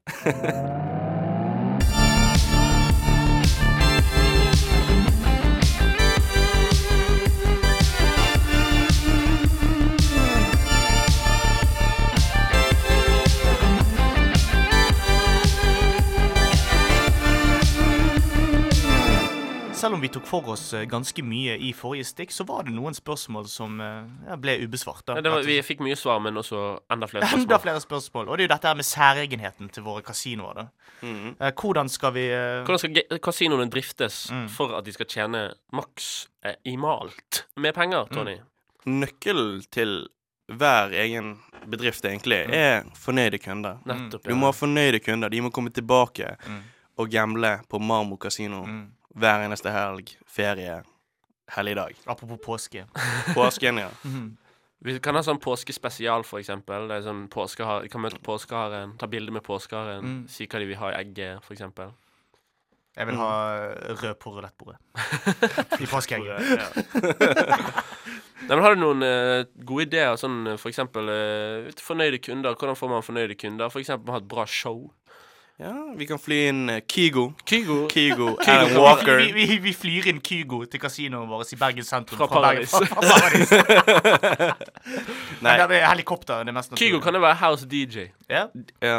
Speaker 1: Selv om vi tok for oss eh, ganske mye i forrige stikk, så var det noen spørsmål som eh, ja, ble ubesvart. Da.
Speaker 2: Nei, Det var, vi fikk mye svar, men også enda flere
Speaker 1: Enda
Speaker 2: spørsmål.
Speaker 1: flere spørsmål. Og det er jo dette her med særegenheten til våre kasinoer. da. Eh, hvordan skal vi eh,
Speaker 2: Mm. Hvordan skal ge- kasinoene driftes
Speaker 1: Mm.
Speaker 2: for at de skal tjene maks eh, i malt med penger,
Speaker 1: Mm.
Speaker 2: Tony?
Speaker 3: Nøkkelen til hver egen bedrift egentlig
Speaker 1: Mm.
Speaker 3: er fornøyde kunder.
Speaker 2: Nettopp.
Speaker 3: Du må ha fornøyde kunder. De må komme tilbake og gamble på Marmo kasino hver eneste helg, ferie, helligdag.
Speaker 1: Apropos påske.
Speaker 3: Påsken, ja.
Speaker 2: Vi kan ha sånn påskespesial, for eksempel. Det er sånn påskehar, vi kan møte påskeharen, ta bilde med påskeharen,
Speaker 1: Mm.
Speaker 2: si hva de vil ha i egget, for eksempel.
Speaker 1: Jeg vil ha eh, rød på rulettbordet. I påskeegget.
Speaker 2: Nei, men Har du noen eh, gode ideer, sånn eh, for eksempel eh, vet du, fornøyde kunder? Hvordan får man fornøyde kunder? For eksempel ha et bra show.
Speaker 3: ja. Vi kan fly inn eh, Kygo.
Speaker 2: Kygo
Speaker 3: Kygo, Alan
Speaker 1: Altså, Vi,
Speaker 3: Walker.
Speaker 1: vi, vi, vi flyr inn Kygo til kasinoet vårt i Bergen sentrum.
Speaker 2: Fra
Speaker 1: Bergen-
Speaker 2: paradis.
Speaker 1: fra paradis.
Speaker 3: Nei.
Speaker 1: Nei, det er helikopter. Det er mest
Speaker 2: Kygo kan jo være house DJ.
Speaker 1: Ja.
Speaker 3: Ja.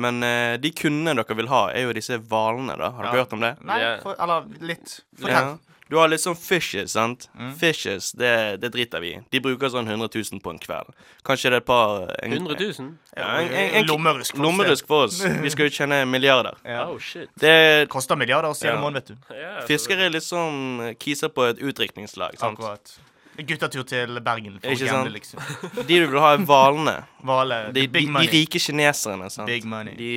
Speaker 3: Men eh, de kundene dere vil ha, er jo disse hvalene, da. Har dere
Speaker 1: Ja.
Speaker 3: hørt om det?
Speaker 1: Nei,
Speaker 2: Det er-
Speaker 1: for, eller litt. Fortell.
Speaker 3: Ja. Du har litt sånn fishes, sant? Fishes, det, det driter vi i. De bruker sånn 100 000 på en kveld. Kanskje det er et par en,
Speaker 2: 100 000?
Speaker 3: Ja, en, en, en
Speaker 1: Lommerusk.
Speaker 3: Lommerusk for oss. Vi skal jo tjene milliarder.
Speaker 1: Ja.
Speaker 2: Oh, shit.
Speaker 3: Det
Speaker 1: Koster milliarder å se
Speaker 3: Ja.
Speaker 1: en måned, vet du.
Speaker 2: Ja, så-
Speaker 3: Fiskere er litt sånn kiser på et utdrikningslag, sant?
Speaker 1: Akkurat. Guttatur til Bergen. For
Speaker 3: Ikke
Speaker 1: å
Speaker 3: sant?
Speaker 1: gamble, liksom.
Speaker 3: De du vil ha, er hvalene.
Speaker 1: Vale.
Speaker 3: De,
Speaker 1: the
Speaker 3: de,
Speaker 1: big
Speaker 3: de
Speaker 1: money.
Speaker 3: rike kineserne, sant?
Speaker 1: Big money.
Speaker 3: De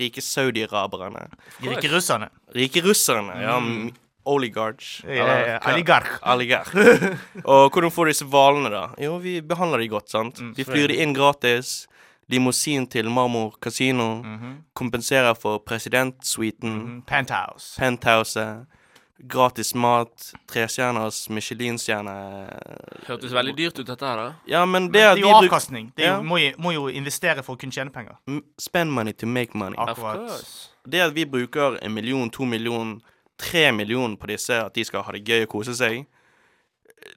Speaker 3: rike saudi-araberne.
Speaker 1: De rike russerne.
Speaker 3: Rike russerne, ja. m- Oligarch.
Speaker 1: Mm. Ja, ja, ja. eh, Oligark.
Speaker 3: Alligar. Og hvordan får du disse hvalene, da? Jo, vi behandler de godt, sant?
Speaker 1: Mm,
Speaker 3: vi flyr de inn gratis. Limousin til Marmor kasino.
Speaker 1: Mhm.
Speaker 3: Kompenserer for presidentsuiten.
Speaker 1: Mm, Penthouse.
Speaker 3: Penthouset. Gratis mat. Trestjerners Michelin-stjerne.
Speaker 2: Hørtes veldig dyrt ut, dette her, da.
Speaker 3: Ja, men det
Speaker 1: Det
Speaker 3: at
Speaker 1: er
Speaker 3: vi
Speaker 1: jo
Speaker 3: bruker
Speaker 1: avkastning. Det er
Speaker 3: Ja.
Speaker 1: jo, må, jo, må jo investere for å kunne tjene penger.
Speaker 3: M- Spend money to make money.
Speaker 1: Ak-
Speaker 2: Of
Speaker 1: Akkurat.
Speaker 2: course.
Speaker 3: Det at vi bruker en million, to million, tre million på disse, at de skal ha det gøy og kose seg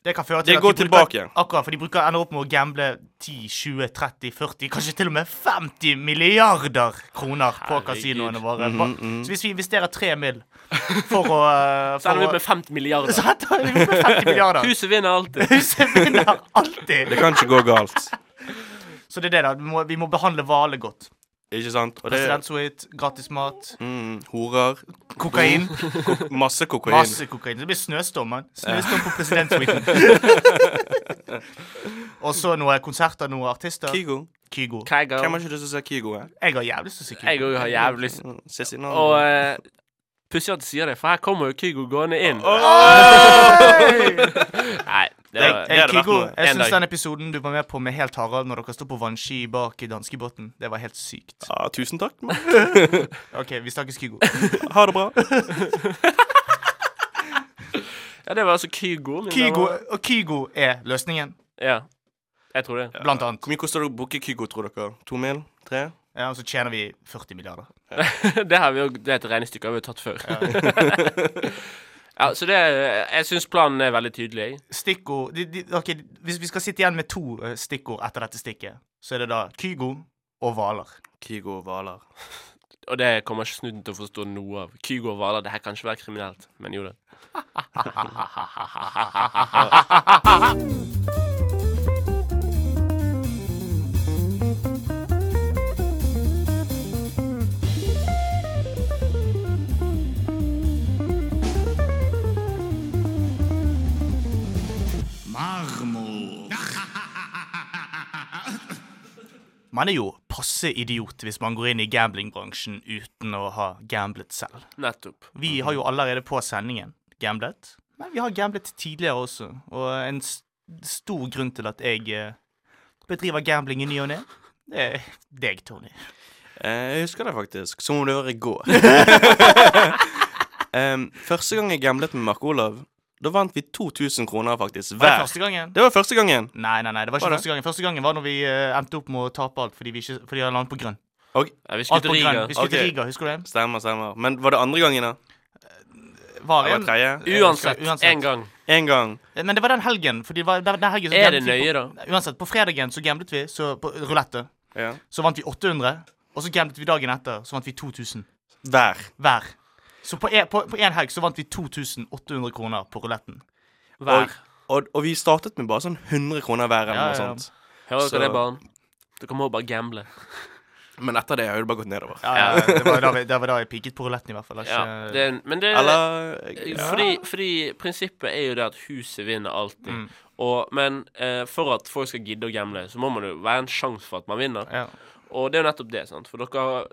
Speaker 1: Det kan føre til
Speaker 3: Det
Speaker 1: at
Speaker 3: går
Speaker 1: de
Speaker 3: tilbake.
Speaker 1: Bruker, akkurat, for de bruker ender opp med å gamble 10, 20, 30, 40, kanskje til og med 50 milliarder kroner på
Speaker 2: Herregud.
Speaker 1: kasinoene våre.
Speaker 3: Mm-hmm,
Speaker 1: Hva- Så hvis vi investerer 3 mill. for å eh,
Speaker 2: Så
Speaker 1: for
Speaker 2: ender vi opp
Speaker 1: å-
Speaker 2: med 50 milliarder.
Speaker 1: Så ender vi opp med 50 milliarder.
Speaker 2: Huset vinner alltid.
Speaker 1: Huset vinner alltid.
Speaker 3: Det kan ikke gå galt.
Speaker 1: Så det er det, da. Vi må, vi må behandle hvaler godt.
Speaker 3: Ikke sant? Og det
Speaker 1: Presidentsuite, gratis mat,
Speaker 3: mm, Horer.
Speaker 1: kokain.
Speaker 3: Masse kokain.
Speaker 1: Masse kokain. Det blir snøstorm, mann. Snøstorm på presidentsuiten. Og så noen konserter, noen artister.
Speaker 3: Kygo.
Speaker 1: Kygo.
Speaker 2: Kygo.
Speaker 3: Hvem har ikke lyst til å se Kygo? eh? Mm,
Speaker 1: Jeg har jævlig lyst til å si Kygo.
Speaker 2: Jeg òg har jævlig lyst
Speaker 3: Sissy
Speaker 2: Og
Speaker 3: Navn.
Speaker 2: eh, pussig at du sier det, for her kommer jo Kygo gående inn. Nei, det
Speaker 3: Det-
Speaker 2: var
Speaker 3: det hadde vært
Speaker 1: Kygo,
Speaker 3: noe.
Speaker 1: jeg
Speaker 2: En
Speaker 1: syns
Speaker 2: dag.
Speaker 1: den episoden du var med på med Helt Harald, når dere sto på vannski bak i danskebåten, det var helt sykt.
Speaker 3: Ja, Ah, tusen takk. mann.
Speaker 1: OK, vi snakkes, Kygo.
Speaker 3: Ha det bra.
Speaker 2: Ja, det var altså Kygo. mine
Speaker 1: Kygo.
Speaker 2: damer.
Speaker 1: Og Kygo er løsningen,
Speaker 2: Ja. Jeg tror det.
Speaker 1: blant annet.
Speaker 3: Hvor mye koster det å booke Kygo, tror dere? To mil? Tre?
Speaker 1: Ja, og så tjener vi 40 milliarder.
Speaker 2: det, har vi jo, det er et regnestykke vi har tatt før. ja, så det er- Jeg syns planen er veldig tydelig. jeg.
Speaker 1: Stikkord de, de, ok, Hvis vi skal sitte igjen med to eh, stikkord etter dette stikket, så er det da Kygo og hvaler.
Speaker 3: Kygo og hvaler.
Speaker 2: Og det kommer ikke snuten til å forstå noe av. Kygo og Hvaler, det her kan ikke være kriminelt. Men jo, det.
Speaker 4: Marmor.
Speaker 1: Man er jo passe idiot hvis man går inn i gamblingbransjen uten å ha gamblet selv.
Speaker 2: Nettopp.
Speaker 1: Vi har jo allerede på sendingen gamblet, Men vi har gamblet tidligere også, og en s- stor grunn til at jeg eh, bedriver gambling i ny og ne, det er deg, Tony.
Speaker 3: Eh, jeg husker det faktisk, som om det var i går. Em, første gang jeg gamblet med Mark Olav, da vant vi 2000 kroner
Speaker 1: Var
Speaker 3: faktisk
Speaker 1: det
Speaker 3: hver.
Speaker 1: første gangen?
Speaker 3: Det var første gangen.
Speaker 1: Nei, nei, nei, det var ikke
Speaker 3: Var det?
Speaker 1: første gangen. Første gangen var når vi eh, endte opp med å tape alt fordi vi, ikke, fordi vi hadde landet på grønn.
Speaker 2: Ja, vi
Speaker 1: Alt
Speaker 2: skulle
Speaker 1: på
Speaker 2: til
Speaker 1: grønn.
Speaker 2: Riga.
Speaker 1: Vi skulle til
Speaker 3: Ok.
Speaker 1: Riga, husker du det?
Speaker 3: Stemmer, stemmer. Men var det andre gangen, da?
Speaker 1: Var
Speaker 3: Eller
Speaker 1: en,
Speaker 3: tredje?
Speaker 2: Uansett,
Speaker 1: Uansett.
Speaker 2: én gang.
Speaker 3: En gang.
Speaker 1: men det var den helgen. Fordi det var, den helgen så
Speaker 2: Er det
Speaker 1: gamblet vi
Speaker 2: nøye, da?
Speaker 1: På, uansett, på fredagen så gamblet vi så på rulette.
Speaker 3: Ja.
Speaker 1: Så vant vi 800, og så gamblet vi dagen etter, så vant vi 2000.
Speaker 3: Hver.
Speaker 1: Hver. Så på en- på- på én helg så vant vi 2800 kroner på ruletten.
Speaker 2: Hver.
Speaker 3: Og, og vi startet med bare sånn 100 kroner hver.
Speaker 1: Ja,
Speaker 3: eller noe
Speaker 1: ja.
Speaker 3: sånt.
Speaker 2: Hører
Speaker 3: Så-
Speaker 2: dere det, barn? Dere må bare gamble.
Speaker 3: Men etter det har det bare gått nedover.
Speaker 1: Ja, ja, Eh, det, var da vi, det var da jeg peaket på ruletten, i hvert fall. Det er
Speaker 2: Ja,
Speaker 1: ikke-
Speaker 2: det, men det
Speaker 3: Eller eh,
Speaker 2: fordi, fordi prinsippet er jo det at huset vinner alltid.
Speaker 1: Mm.
Speaker 2: Og, men eh, for at folk skal gidde å gamble, så må man jo være en sjanse for at man vinner.
Speaker 1: ja.
Speaker 2: Og det er jo nettopp det, sant. For dere har-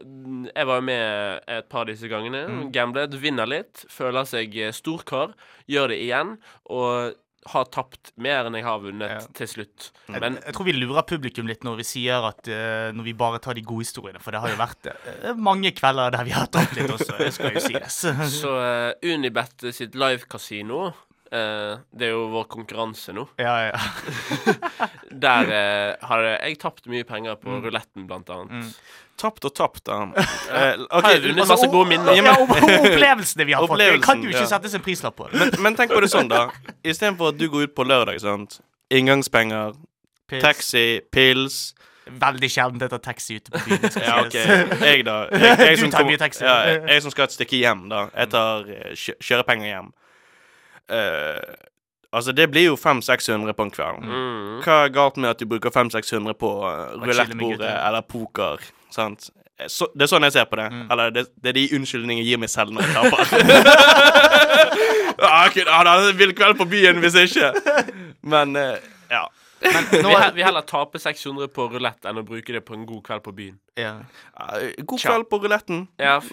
Speaker 2: Jeg var jo med et par av disse gangene.
Speaker 1: Mm.
Speaker 2: Gamblet, vinner litt, føler seg eh, storkar, gjør det igjen, og har tapt mer enn jeg har vunnet
Speaker 1: Ja.
Speaker 2: til slutt.
Speaker 1: Men,
Speaker 2: Men
Speaker 1: jeg tror vi lurer publikum litt når vi sier at eh, når vi bare tar de gode historiene, for det har jo vært eh, mange kvelder der vi har tatt litt også, det skal jo sies.
Speaker 2: så eh, Unibet sitt livekasino eh, Det er jo vår konkurranse nå.
Speaker 1: Ja, ja.
Speaker 2: Der eh, har jeg tapt mye penger på
Speaker 1: Mm.
Speaker 2: ruletten, blant annet.
Speaker 3: Tapt og tapt, da. Eh, ok,
Speaker 2: Har jeg vunnet
Speaker 3: altså,
Speaker 2: masse
Speaker 3: o-
Speaker 2: gode minner?
Speaker 1: ja og, og opplevelsene vi har fått. Det kan jo
Speaker 3: Opplevelsen, ja.
Speaker 1: ikke settes en prislapp på.
Speaker 3: men, men tenk på det sånn, da. Istedenfor at du går ut på lørdag, sant. Inngangspenger,
Speaker 1: Pils.
Speaker 3: taxi, pils
Speaker 1: Veldig sjelden jeg tar taxi ute på byen. skal
Speaker 3: Ja,
Speaker 1: sies.
Speaker 3: OK. Jeg, da. Jeg, jeg
Speaker 1: Du
Speaker 3: som
Speaker 1: tar
Speaker 3: kommer-
Speaker 1: mye taxi.
Speaker 3: Ja, jeg, jeg som skal et stykke hjem, da. Jeg tar eh, kjø kjørepenger hjem. Eh, altså, det blir jo 500-600 på en kveld.
Speaker 2: Mm.
Speaker 3: Hva er galt med at du bruker 500-600 på eh,
Speaker 1: med
Speaker 3: roulettebordet
Speaker 1: gutter.
Speaker 3: eller poker? Sant? Eh, Så, det er sånn jeg ser på det. Eller det, det er de unnskyldningene jeg gir meg selv når jeg taper. ah, jeg kunne hatt en vill kveld på byen hvis ikke. Men eh, ja.
Speaker 2: Vi, he- vi heller tape 600 på rulett enn å bruke det på en god kveld på byen.
Speaker 1: Ja.
Speaker 3: Eh, God kveld på ruletten.
Speaker 2: Ja, f-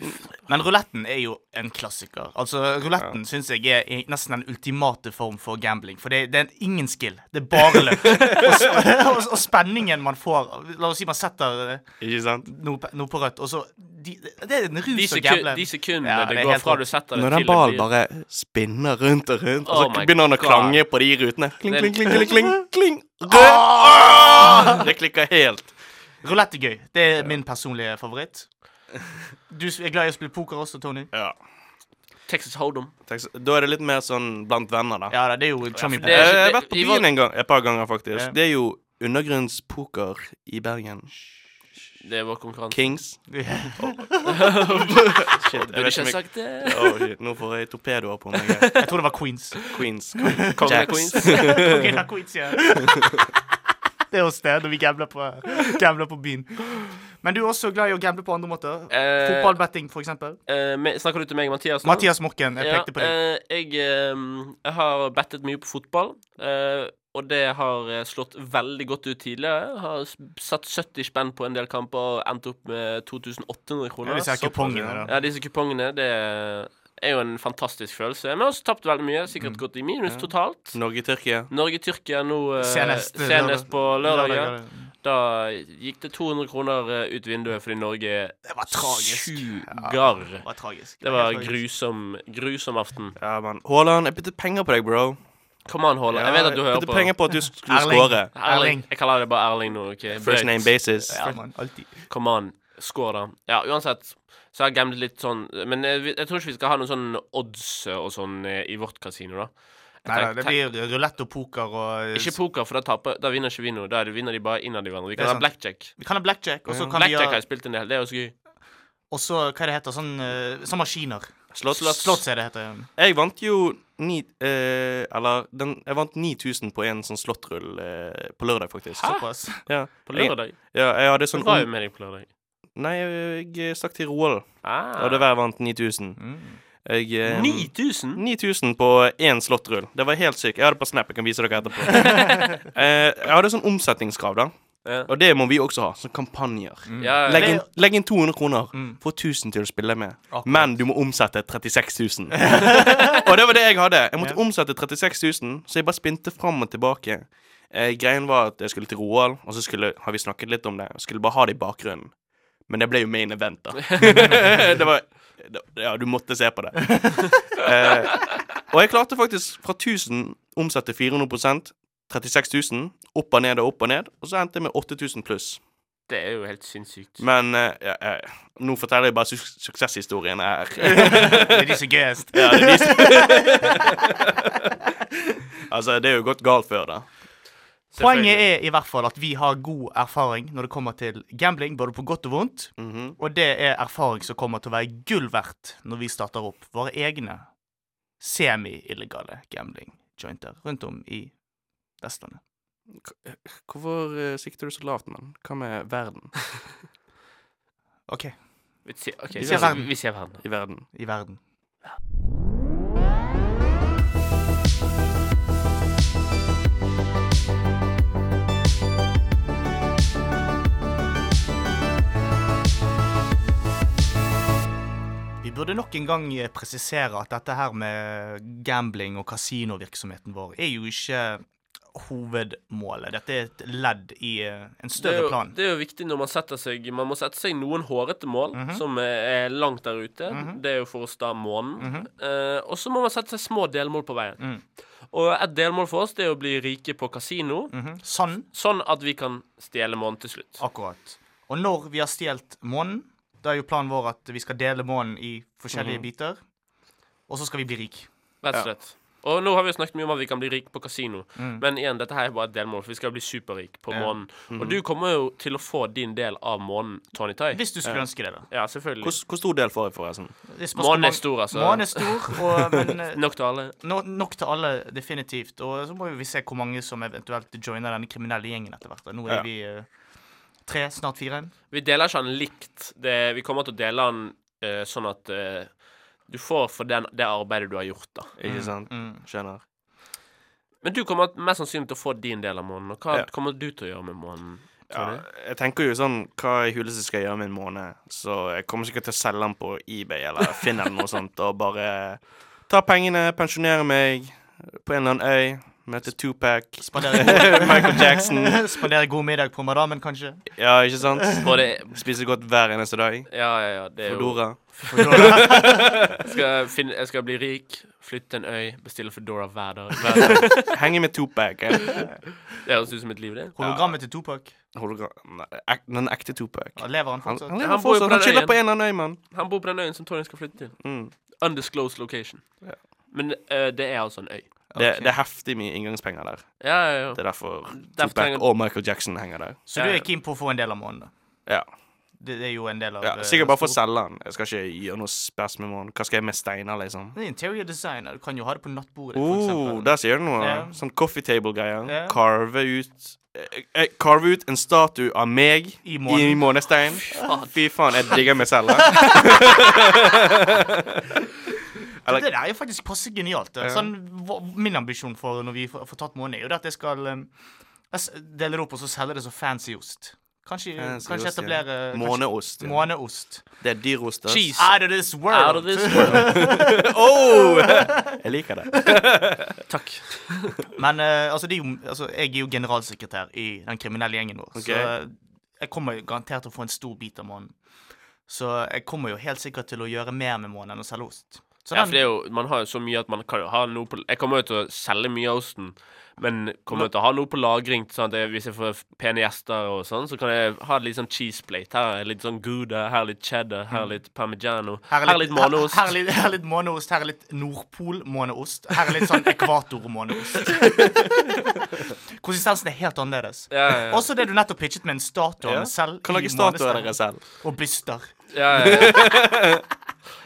Speaker 1: Men ruletten er jo en klassiker. Altså, Ruletten synes syns jeg er i- nesten den ultimate form for gambling. For det, det er ingen skill. Det er bare løp. og, s- og, s- og spenningen man får La oss si man setter eh,
Speaker 3: Ikke sant?
Speaker 1: noe, pe- noe på rødt, og så de, Det er en
Speaker 2: de,
Speaker 1: rus å
Speaker 2: seku
Speaker 1: gamble.
Speaker 2: de sekundene
Speaker 1: Ja, det
Speaker 2: det
Speaker 1: er
Speaker 2: går
Speaker 1: helt
Speaker 2: fra
Speaker 1: rått.
Speaker 2: du setter det
Speaker 3: Når den
Speaker 2: til det
Speaker 3: ballen
Speaker 2: blir
Speaker 3: bare spinner rundt og rundt,
Speaker 2: Oh
Speaker 3: og så
Speaker 2: my
Speaker 3: begynner den å
Speaker 2: God.
Speaker 3: klange på de rutene Kling,
Speaker 2: Det- sånn-
Speaker 3: kling, kling, kling, kling, kling. Rød. Ah! Det klikker helt.
Speaker 1: Rulett er gøy. Det er min personlige favoritt. Du s- er glad i å spille poker også, Tony?
Speaker 3: Ja.
Speaker 2: Texas Hold'em.
Speaker 3: Takk s- Da er det litt mer sånn blant venner, da.
Speaker 1: Ja, da, det er jo chummy poker.
Speaker 2: for det er
Speaker 3: Jeg
Speaker 2: ikke-
Speaker 3: har vært på
Speaker 2: vi var-
Speaker 3: byen en gang, et par ganger, faktisk.
Speaker 1: Ja.
Speaker 3: Det er jo undergrunnspoker i Bergen.
Speaker 2: Det er vår konkurranse.
Speaker 3: Kings. Shit, jeg
Speaker 2: Burde ikke ha
Speaker 3: vet ikke om jeg...
Speaker 2: sagt det. eh,
Speaker 3: Åh, shit, nå får jeg torpedoer på meg.
Speaker 1: Jeg tror det var Queens.
Speaker 3: Queens.
Speaker 2: Kongen av
Speaker 3: Jacks.
Speaker 2: Queens.
Speaker 1: Kongen av Queens, ja. Det er oss det, når vi gambler på, gambler på byen. Men du er også glad i å gamble på andre måter?
Speaker 2: Eh,
Speaker 1: Fotballbetting, for eksempel?
Speaker 2: Eh, me- snakker du til meg, Mathias? nå?
Speaker 1: Mathias Morken, jeg
Speaker 2: Ja,
Speaker 1: pekte på deg.
Speaker 2: eh, jeg, eh, jeg har bettet mye på fotball. eh, og det har eh, slått veldig godt ut tidligere. Jeg har s- satt 70 spenn på en del kamper og endt opp med 2800
Speaker 1: Ja,
Speaker 2: kroner. Altså.
Speaker 1: Disse her
Speaker 3: såpass,
Speaker 1: kupongene,
Speaker 3: ja.
Speaker 1: da.
Speaker 2: Ja, disse kupongene, det er jo en fantastisk følelse. Men jeg har også tapt veldig mye. Sikkert gått i minus totalt.
Speaker 3: Mm. Norge-Tyrkia.
Speaker 2: Norge-Tyrkia nå eh,
Speaker 1: Senest, eh,
Speaker 2: senest
Speaker 1: lørdag.
Speaker 2: på lørdag. ja.
Speaker 1: Lørdag,
Speaker 2: Da gikk det 200 kroner eh, ut vinduet fordi Norge
Speaker 1: Det var tragisk.
Speaker 2: suger.
Speaker 1: Det var tragisk.
Speaker 2: Det var
Speaker 1: helt tragisk.
Speaker 2: grusom, grusom aften.
Speaker 3: Ja, mann. Haaland, jeg bytter penger på deg, bro.
Speaker 2: Kom an, Haaland. Jeg
Speaker 3: Ja,
Speaker 2: vet at du hører
Speaker 3: bytter
Speaker 2: på.
Speaker 3: penger på at du skulle
Speaker 1: Erling.
Speaker 3: score.
Speaker 2: Erling.
Speaker 1: Erling.
Speaker 2: Jeg kaller det bare Erling nå. ok?
Speaker 3: First
Speaker 2: Brøyt.
Speaker 3: name basis.
Speaker 1: Ja, man, alltid.
Speaker 2: Kom an. Skår, da. Ja, uansett. Så jeg har gamblet litt sånn Men jeg, vi- jeg tror ikke vi skal ha noen sånn odds og sånn eh, i vårt kasino, da. Jeg
Speaker 1: Nei da,
Speaker 2: tenk-
Speaker 1: det
Speaker 2: tenk-
Speaker 1: blir rulett og poker og eh,
Speaker 2: Ikke poker, for da, taper, da vinner ikke vi noe. Da er det- vinner de bare innad i hverandre. Vi
Speaker 1: Det er
Speaker 2: kan ha
Speaker 1: sant.
Speaker 2: blackjack.
Speaker 1: Vi kan ha blackjack, og så kan vi
Speaker 2: Mm. Blackjack
Speaker 1: ha
Speaker 2: har jeg spilt en del. Det er jo så gøy.
Speaker 1: Og så, hva det heter sånn eh, Sånn maskiner.
Speaker 3: Slott.
Speaker 1: Slotts er det heter. eh, ja.
Speaker 3: Jeg vant jo ni, eh, Eller den, jeg vant 9000 på en sånn slottrull eh, på lørdag, faktisk.
Speaker 1: Såpass.
Speaker 3: Ja.
Speaker 2: På lørdag.
Speaker 3: Jeg, ja, jeg hadde
Speaker 2: Du
Speaker 3: sånn
Speaker 2: var jo
Speaker 3: ung-
Speaker 2: med deg på lørdag.
Speaker 3: Nei, jeg, jeg stakk til Roald,
Speaker 2: Ah.
Speaker 3: og det var jeg vant 9000.
Speaker 1: Mm.
Speaker 3: Jeg
Speaker 2: Ehm,
Speaker 3: eh,
Speaker 2: 9000?
Speaker 3: 9000 på én slottrull. Det var helt sykt. Jeg hadde på Snap. Jeg kan vise dere etterpå. eh, jeg hadde sånn omsetningskrav, da.
Speaker 2: Ja.
Speaker 3: Og det må vi også ha, som kampanjer.
Speaker 2: Ja, ja.
Speaker 3: Legg inn, legg inn 200 kroner.
Speaker 1: Mm.
Speaker 3: Få 1000 til å spille med.
Speaker 1: Akkurat.
Speaker 3: Men du må omsette 36 000. og det var det jeg hadde. Jeg måtte omsette 36 000, så jeg bare spinte fram og tilbake. Eh, greien var at jeg skulle til Roald, og så skulle, har vi snakket litt om det. Og skulle bare ha det i bakgrunnen. Men det ble jo main event, da. det var det, Ja, du måtte se på det. eh, og jeg klarte faktisk fra 1000 omsette 400 36 000. Opp og ned og opp og ned. Og så endte jeg med 8000 pluss.
Speaker 2: Det er jo helt sinnssykt.
Speaker 3: Men eh, ja, ja, nå forteller jeg bare su suksesshistorien her.
Speaker 1: Det er de som er gøyest.
Speaker 3: Ja, det viser- altså, det er jo gått galt før, da.
Speaker 1: Poenget er i hvert fall at vi har god erfaring når det kommer til gambling, både på godt og vondt.
Speaker 3: Mhm.
Speaker 1: Og det er erfaring som kommer til å være gull verdt når vi starter opp våre egne semi-illegale gambling-jointer rundt om i Vestlandet.
Speaker 3: Hvorfor eh, sikter du så lavt, mann? Hva med verden?
Speaker 1: OK,
Speaker 2: Vi ser, ok,
Speaker 1: Vi
Speaker 2: vi,
Speaker 1: ser
Speaker 2: ser
Speaker 1: verden.
Speaker 2: vi ser verden.
Speaker 3: I verden.
Speaker 1: i verden. Vi burde nok en gang eh, presisere at dette her med gambling og kasinovirksomheten vår er jo ikke hovedmålet. Dette er et ledd i eh, en
Speaker 2: Det er,
Speaker 1: større
Speaker 2: jo,
Speaker 1: plan.
Speaker 2: det er jo viktig når man setter seg Man må sette seg noen hårete mål
Speaker 1: Mhm.
Speaker 2: som er er langt der ute. Det er jo for oss da månen. Eh, og så må man sette seg små delmål på veien.
Speaker 1: Mhm. Mm.
Speaker 2: Og et delmål for oss det er å bli rike på kasino,
Speaker 1: Mhm. Sann
Speaker 2: sånn at vi kan stjele månen til slutt.
Speaker 1: Akkurat. Og når vi har stjålet månen, da er jo planen vår at vi skal dele månen i
Speaker 3: Mhm.
Speaker 1: forskjellige biter. Og så skal vi bli rik.
Speaker 2: Rett og slett. Og nå har vi jo snakket mye om at vi kan bli rike på kasino,
Speaker 1: Mm.
Speaker 2: men igjen, dette her er bare et delmål, for vi skal bli superrike på
Speaker 1: Ja. Mm-hmm.
Speaker 2: månen. Og du kommer jo til å få din del av månen, Tony Tai.
Speaker 1: Hvis du skulle ønske det, da.
Speaker 2: Ja, selvfølgelig.
Speaker 3: Hvor, s- hvor stor del får jeg, forresten?
Speaker 1: Det spørs hvor
Speaker 2: Månen
Speaker 1: mange-
Speaker 2: er stor, altså.
Speaker 1: Månen er stor, og, men eh,
Speaker 2: Nok til alle.
Speaker 1: no, nok til alle, definitivt. Og så må vi se hvor mange som eventuelt joiner denne kriminelle gjengen etter hvert. da. Nå er
Speaker 3: Ja.
Speaker 1: vi eh, tre, snart fire.
Speaker 2: Vi deler ikke den likt. Det, vi kommer til å dele den eh, sånn at eh, du får for den, det arbeidet du har gjort, da.
Speaker 3: Ikke sant?
Speaker 1: Mm.
Speaker 3: Skjønner.
Speaker 2: Men du kommer mest sannsynlig til å få din del av månen. Og hva
Speaker 3: Ja.
Speaker 2: kommer du til å gjøre med månen? tror
Speaker 3: Ja,
Speaker 2: du?
Speaker 3: jeg tenker jo sånn Hva i huleste skal jeg gjøre med en måned? Så jeg kommer sikkert til å selge den på eBay eller Finn eller noe sånt, og bare ta pengene, pensjonere meg på en eller annen øy, møte Tupac,
Speaker 1: Spandere,
Speaker 3: Michael Jackson
Speaker 1: spandere god middag på madammen, kanskje.
Speaker 3: Ja, ikke sant?
Speaker 2: Og det,
Speaker 3: Spiser godt hver eneste dag.
Speaker 2: ja, ja, ja, det er jo
Speaker 3: Fodora.
Speaker 2: jeg skal, finne, jeg skal bli rik, flytte til en øy, bestille Foodora hver dag. Hver dag.
Speaker 3: Henge med Tupac. eh.
Speaker 2: Det høres ut som et liv, det.
Speaker 1: Hologrammet til Topak.
Speaker 3: Hologra... Nei, ek, den ekte Tupac.
Speaker 1: Lever han
Speaker 3: Han,
Speaker 1: fortsatt?
Speaker 3: han lever
Speaker 2: Han bor jo på
Speaker 3: fortsatt. Han
Speaker 2: den
Speaker 3: chiller
Speaker 2: øyen.
Speaker 3: på en eller annen øy, mann.
Speaker 2: Han bor på den øyen som Tony skal flytte til.
Speaker 3: Mm.
Speaker 2: Undisclosed location. Men eh, det er altså en øy.
Speaker 3: Det,
Speaker 1: Ok.
Speaker 3: det er heftig mye inngangspenger der.
Speaker 2: Ja, ja, ja.
Speaker 3: Det er derfor
Speaker 2: Derfor
Speaker 3: Tupac
Speaker 2: trenger-
Speaker 3: og Michael Jackson henger der.
Speaker 1: Så du er keen på å få en del av månen, da?
Speaker 3: Ja.
Speaker 1: Det, det er jo en del av
Speaker 3: ja
Speaker 1: eh,
Speaker 3: sikkert bare for å
Speaker 1: stor-
Speaker 3: selge den. Jeg skal ikke gjøre noe spes med månen. Hva skal jeg med steiner, liksom?
Speaker 1: Det er Interior designer. Du kan jo ha det på nattbordet, for
Speaker 3: Oh,
Speaker 1: eksempel.
Speaker 3: der sier du noe.
Speaker 1: Ja.
Speaker 3: Sånn coffee table-greier.
Speaker 1: Ja.
Speaker 3: Carve ut eh, eh, Carve ut en statue av meg
Speaker 1: I
Speaker 3: i
Speaker 1: månen.
Speaker 3: månestein. Fy faen, jeg digger meg selv. da. eller-
Speaker 1: Det der er jo faktisk passe genialt. da.
Speaker 3: Ja.
Speaker 1: Sånn, hva- min ambisjon for når vi får, får tatt månen, er jo det at jeg skal um, jeg s- dele det opp og så selge det som fancy ost. Kanskje,
Speaker 3: Fancy
Speaker 1: kanskje
Speaker 3: ost, ja.
Speaker 1: etablere kanskje-
Speaker 3: Måneost. ja.
Speaker 1: Måneost.
Speaker 3: Det er dyr ost. ass.
Speaker 2: Cheese.
Speaker 1: Out of this world.
Speaker 2: Out of this world.
Speaker 3: Oh! Jeg liker det.
Speaker 2: Takk.
Speaker 1: Men eh, altså, det er jo, altså, jeg er jo generalsekretær i den kriminelle gjengen vår.
Speaker 3: Ok.
Speaker 1: Så eh, jeg kommer jo garantert til å få en stor bit av månen. Så jeg kommer jo helt sikkert til å gjøre mer med månen enn å selge ost. Så
Speaker 2: Ja,
Speaker 1: den-
Speaker 2: for det er jo, man har jo så mye at man kan jo ha noe på Jeg kommer jo til å selge mye av osten, men kommer jo til å ha noe på lagring. Sånn at jeg, hvis jeg får f- pene gjester og sånn, så kan jeg ha litt sånn cheese plate. Her er litt sånn gouda, her er litt cheddar, her er litt parmigiano, her er litt måneost.
Speaker 1: Her, her, er litt- her er litt måneost, her er litt Nordpol-måneost. Her er litt sånn ekvator-måneost. Konsistensen er helt annerledes.
Speaker 2: Ja, ja, ja.
Speaker 1: Også det du nettopp pitchet med en statue av
Speaker 3: Ja.
Speaker 1: meg selv
Speaker 3: Kan
Speaker 1: i
Speaker 3: lage statuer av
Speaker 1: månesteinen.
Speaker 3: dere selv.
Speaker 1: Og byster.
Speaker 2: ja, ja, ja.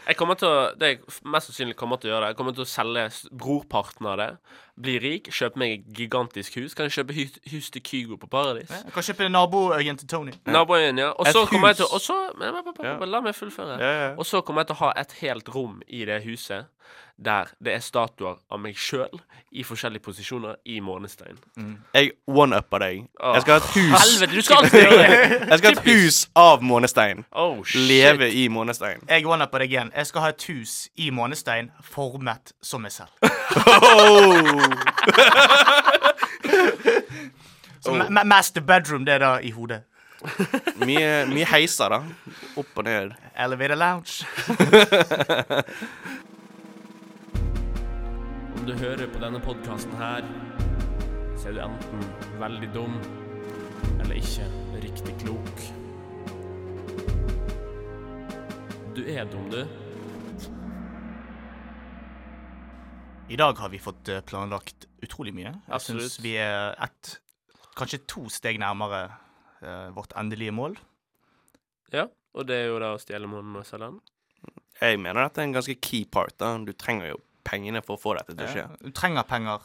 Speaker 2: Jeg kommer til å Det jeg f- mest sannsynlig kommer til å gjøre, det Jeg kommer til å selge s- brorparten av det. Bli rik, kjøpe meg et gigantisk hus. Kan jeg kjøpe hus, hus til Kygo på Paradis?
Speaker 1: Jeg kan kjøpe naboøyen til Tony.
Speaker 2: Naboøyen, ja. Og
Speaker 3: Et
Speaker 2: så kommer jeg til
Speaker 3: hus.
Speaker 2: Og så men- men- men- men-
Speaker 3: Ja.
Speaker 2: La meg fullføre.
Speaker 3: Ja, ja.
Speaker 2: Og så kommer jeg til å ha et helt rom i det huset der det er statuer av meg sjøl i forskjellige posisjoner i månestein.
Speaker 3: Jeg one-upper deg. Jeg skal ha et hus
Speaker 2: Helvete, du skal alltid gjøre det!
Speaker 3: Jeg skal ha et hus av månestein.
Speaker 2: Oh, shit.
Speaker 3: Leve i månestein.
Speaker 1: Jeg one på deg igjen. Jeg skal ha et hus i månestein formet som meg selv.
Speaker 2: Oh.
Speaker 1: Så ma- ma- master bedroom, det er da i hodet.
Speaker 3: Mye, mye heiser, da. Opp og ned.
Speaker 1: Elevator lounge.
Speaker 2: Om du hører på denne podkasten her, så er du enten veldig dum eller ikke riktig klok. Du er dum, du.
Speaker 1: I dag har vi fått eh, planlagt utrolig mye. Jeg syns
Speaker 2: Absolutt.
Speaker 1: vi er ett, kanskje to steg nærmere eh, vårt endelige mål.
Speaker 2: Ja, og det er jo da å stjele månen og selge den.
Speaker 3: Jeg mener dette er en ganske key part. da Du trenger jo pengene for å få dette til å skje.
Speaker 1: Du Eh, trenger penger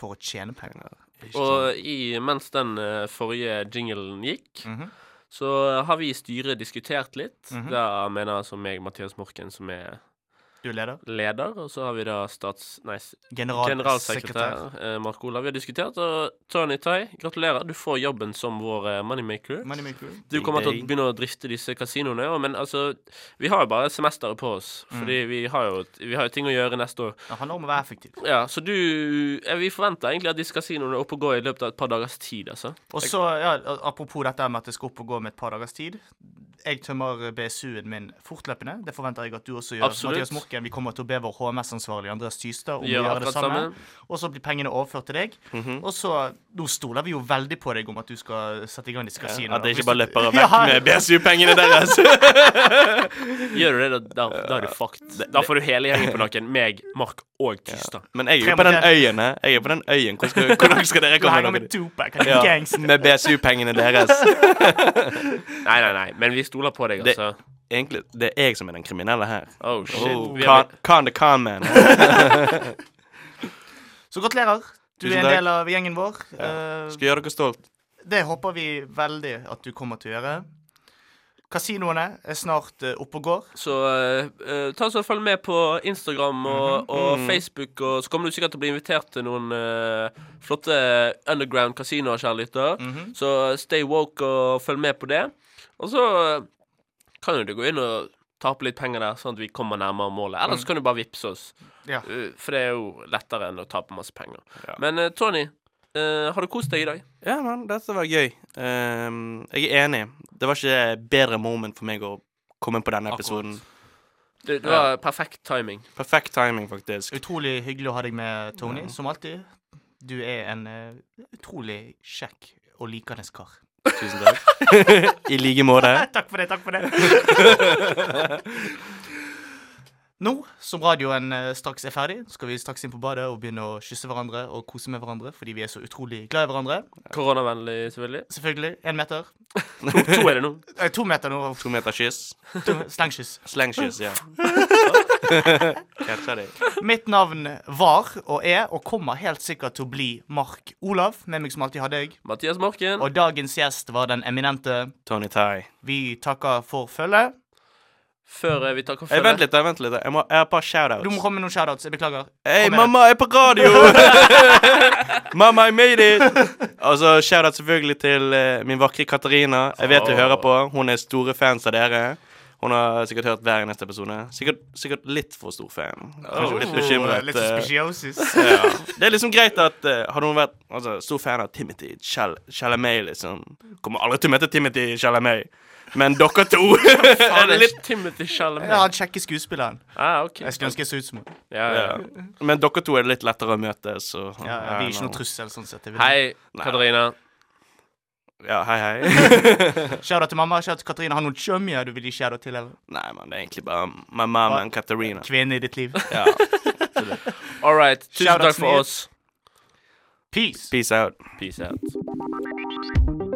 Speaker 1: for å tjene penger.
Speaker 2: Og i, mens den eh, forrige jinglen gikk,
Speaker 1: Mhm.
Speaker 2: så har vi i styret diskutert litt.
Speaker 1: Mhm.
Speaker 2: Da mener jeg altså meg, Mathias Morken, som er
Speaker 1: Du er leder.
Speaker 2: leder, og så har vi da stats... Nei, s-
Speaker 1: Generalsekretær.
Speaker 2: generalsekretær eh, Mark Olav. Vi har diskutert, og Tony Tai, gratulerer. Du får jobben som vår eh, moneymaker.
Speaker 1: Moneymaker.
Speaker 2: Du kommer til å
Speaker 3: Ding,
Speaker 2: begynne å drifte disse kasinoene. og- Men altså, vi har jo bare semesteret på oss,
Speaker 3: Mm.
Speaker 2: fordi vi har jo vi har jo ting å gjøre neste år.
Speaker 1: Det handler om å være effektiv.
Speaker 2: Ja, Så du eh, Vi forventer egentlig at disse kasinoene er oppe og går i løpet av et par dagers tid, altså.
Speaker 1: Og så, ja, Apropos dette med at det skal opp og gå med et par dagers tid. Jeg tømmer BSU-en min fortløpende. Det forventer jeg at du også gjør.
Speaker 2: Absolutt.
Speaker 1: Mathias Morken, Vi kommer til å be vår HMS-ansvarlig Andreas Tystad om å
Speaker 2: Gjør
Speaker 1: gjøre det
Speaker 2: akkurat
Speaker 1: samme.
Speaker 2: samme.
Speaker 1: Og så blir pengene overført til deg.
Speaker 3: Mhm.
Speaker 1: Og så, Nå stoler vi jo veldig på deg om at du skal sette i gang disse kasinoene.
Speaker 3: At det
Speaker 1: Hvis
Speaker 3: ikke
Speaker 1: du-
Speaker 3: bare løper
Speaker 1: Ja,
Speaker 3: vekk med BSU-pengene deres.
Speaker 2: Gjør du det, da, da, da er du fucked. Da får du hele gjengen på nakken. Meg, Mark og Tystad.
Speaker 3: Men jeg er jo på den øyen. hæ? Jeg er på den øyen. Hvordan skal, hvordan skal dere
Speaker 1: Du
Speaker 3: komme
Speaker 1: henger
Speaker 3: dere
Speaker 1: med
Speaker 3: dit?
Speaker 1: Tupac, han er
Speaker 3: Ja,
Speaker 1: gangster.
Speaker 3: med BSU-pengene deres.
Speaker 2: Nei, nei, nei. Men vi stoler på deg,
Speaker 3: Det-
Speaker 2: altså.
Speaker 3: Egentlig, det er jeg som er den kriminelle her.
Speaker 2: Oh, shit.
Speaker 3: Oh,
Speaker 2: Vi har-
Speaker 3: con, con the con man.
Speaker 1: Så gratulerer. Du
Speaker 3: Tusen
Speaker 1: er en
Speaker 3: takk.
Speaker 1: del av gjengen vår. Eh,
Speaker 3: Skal gjøre dere stolt.
Speaker 1: det håper vi veldig at du kommer til å gjøre. Kasinoene er snart eh, oppe og går.
Speaker 2: Så eh, eh, ta så følg med på Instagram og,
Speaker 3: Mhm.
Speaker 2: og Facebook, og så kommer du sikkert til å bli invitert til noen eh, flotte underground kasinoer, kjære lytter.
Speaker 3: Mhm.
Speaker 1: Mhm.
Speaker 2: Så eh, stay woke og følg med på det. Og så eh, kan jo du gå inn og tape litt penger der, sånn at vi kommer nærmere målet. Eller
Speaker 3: Mhm.
Speaker 2: så kan du bare vippse oss,
Speaker 1: Ja.
Speaker 2: eh, for det er jo lettere enn å tape masse penger. Men eh, Tony, eh, har du kost deg i dag?
Speaker 3: Ja, men dette var gøy. Ehm, jeg er enig. Det var ikke bedre moment for meg å komme på denne episoden.
Speaker 2: Det, det var perfekt timing.
Speaker 3: Perfekt timing, faktisk.
Speaker 1: Utrolig hyggelig å ha deg med, Tony, som alltid. Du er en eh, utrolig kjekk og likende kar.
Speaker 3: Tusen takk. I like måte.
Speaker 1: Takk for det, takk for det. Nå som radioen eh, straks er ferdig, skal vi straks inn på badet og begynne å kysse hverandre og kose med hverandre fordi vi er så utrolig glad i hverandre.
Speaker 2: Koronavennlig, selvfølgelig.
Speaker 1: Selvfølgelig. Én meter.
Speaker 2: To, to er det nå.
Speaker 1: Eh, to meter nå.
Speaker 3: To meter kyss.
Speaker 1: To- Slengkyss.
Speaker 3: Slengkyss, ja. Catcha deg.
Speaker 1: Mitt navn var og er og kommer helt sikkert til å bli Mark Olav. Med meg som alltid hadde jeg.
Speaker 2: Mathias Morken.
Speaker 1: Og dagens gjest var den eminente.
Speaker 3: Tony Tai.
Speaker 1: Vi takker for følget.
Speaker 2: Før eh, vi takker
Speaker 3: Hey,
Speaker 2: for
Speaker 3: vent litt, da, vent litt. da. Jeg, må, jeg har et par
Speaker 1: Du må
Speaker 3: shoutouts.
Speaker 1: komme med noen shoutouts. Jeg beklager.
Speaker 3: Hei,
Speaker 1: Kom igjen.
Speaker 3: mamma, jeg er på radio! mamma, I made it! Og så shoutout selvfølgelig til eh, min vakre Katarina. Jeg vet du
Speaker 2: Åh.
Speaker 3: hører på. Hun er store fans av dere. Hun har sikkert hørt hver eneste episode. Sikkert, sikkert litt for stor fan. Kanskje litt bekymret.
Speaker 1: Oh, Litt
Speaker 3: eh,
Speaker 1: suspiciosis.
Speaker 3: ja. Det er liksom greit at eh, Hadde hun vært altså, stor fan av Timothy Chal- Chalamet, liksom Kommer aldri til å møte Timothy Chalamet, men dere to er
Speaker 2: Faen,
Speaker 3: det
Speaker 2: det er
Speaker 3: litt
Speaker 2: Timothy Chalamet.
Speaker 1: Ja, han kjekke skuespilleren.
Speaker 2: Ah, ok.
Speaker 1: Jeg skulle ønske jeg så ut som henne.
Speaker 2: Ja, ja.
Speaker 3: ja. Men dere to er det litt lettere å møte, så
Speaker 1: Ja, ja, vi er ikke
Speaker 3: nå.
Speaker 1: noen trussel, sånn sett. Jeg vil-
Speaker 2: Hei, Katarina.
Speaker 3: Ja, hei, hei.
Speaker 1: Shoutout til mamma. Shoutout til Katrine. Har du noen chummier du vil gi shoutout til? Eller?
Speaker 3: Nei, men det er egentlig bare my mom and Katarina.
Speaker 1: Kvinne i ditt liv.
Speaker 3: Ja.
Speaker 2: All right. Tusen
Speaker 1: Shoutouts
Speaker 2: takk
Speaker 1: til
Speaker 2: for oss.
Speaker 1: Peace.
Speaker 3: Peace out.
Speaker 2: Peace out.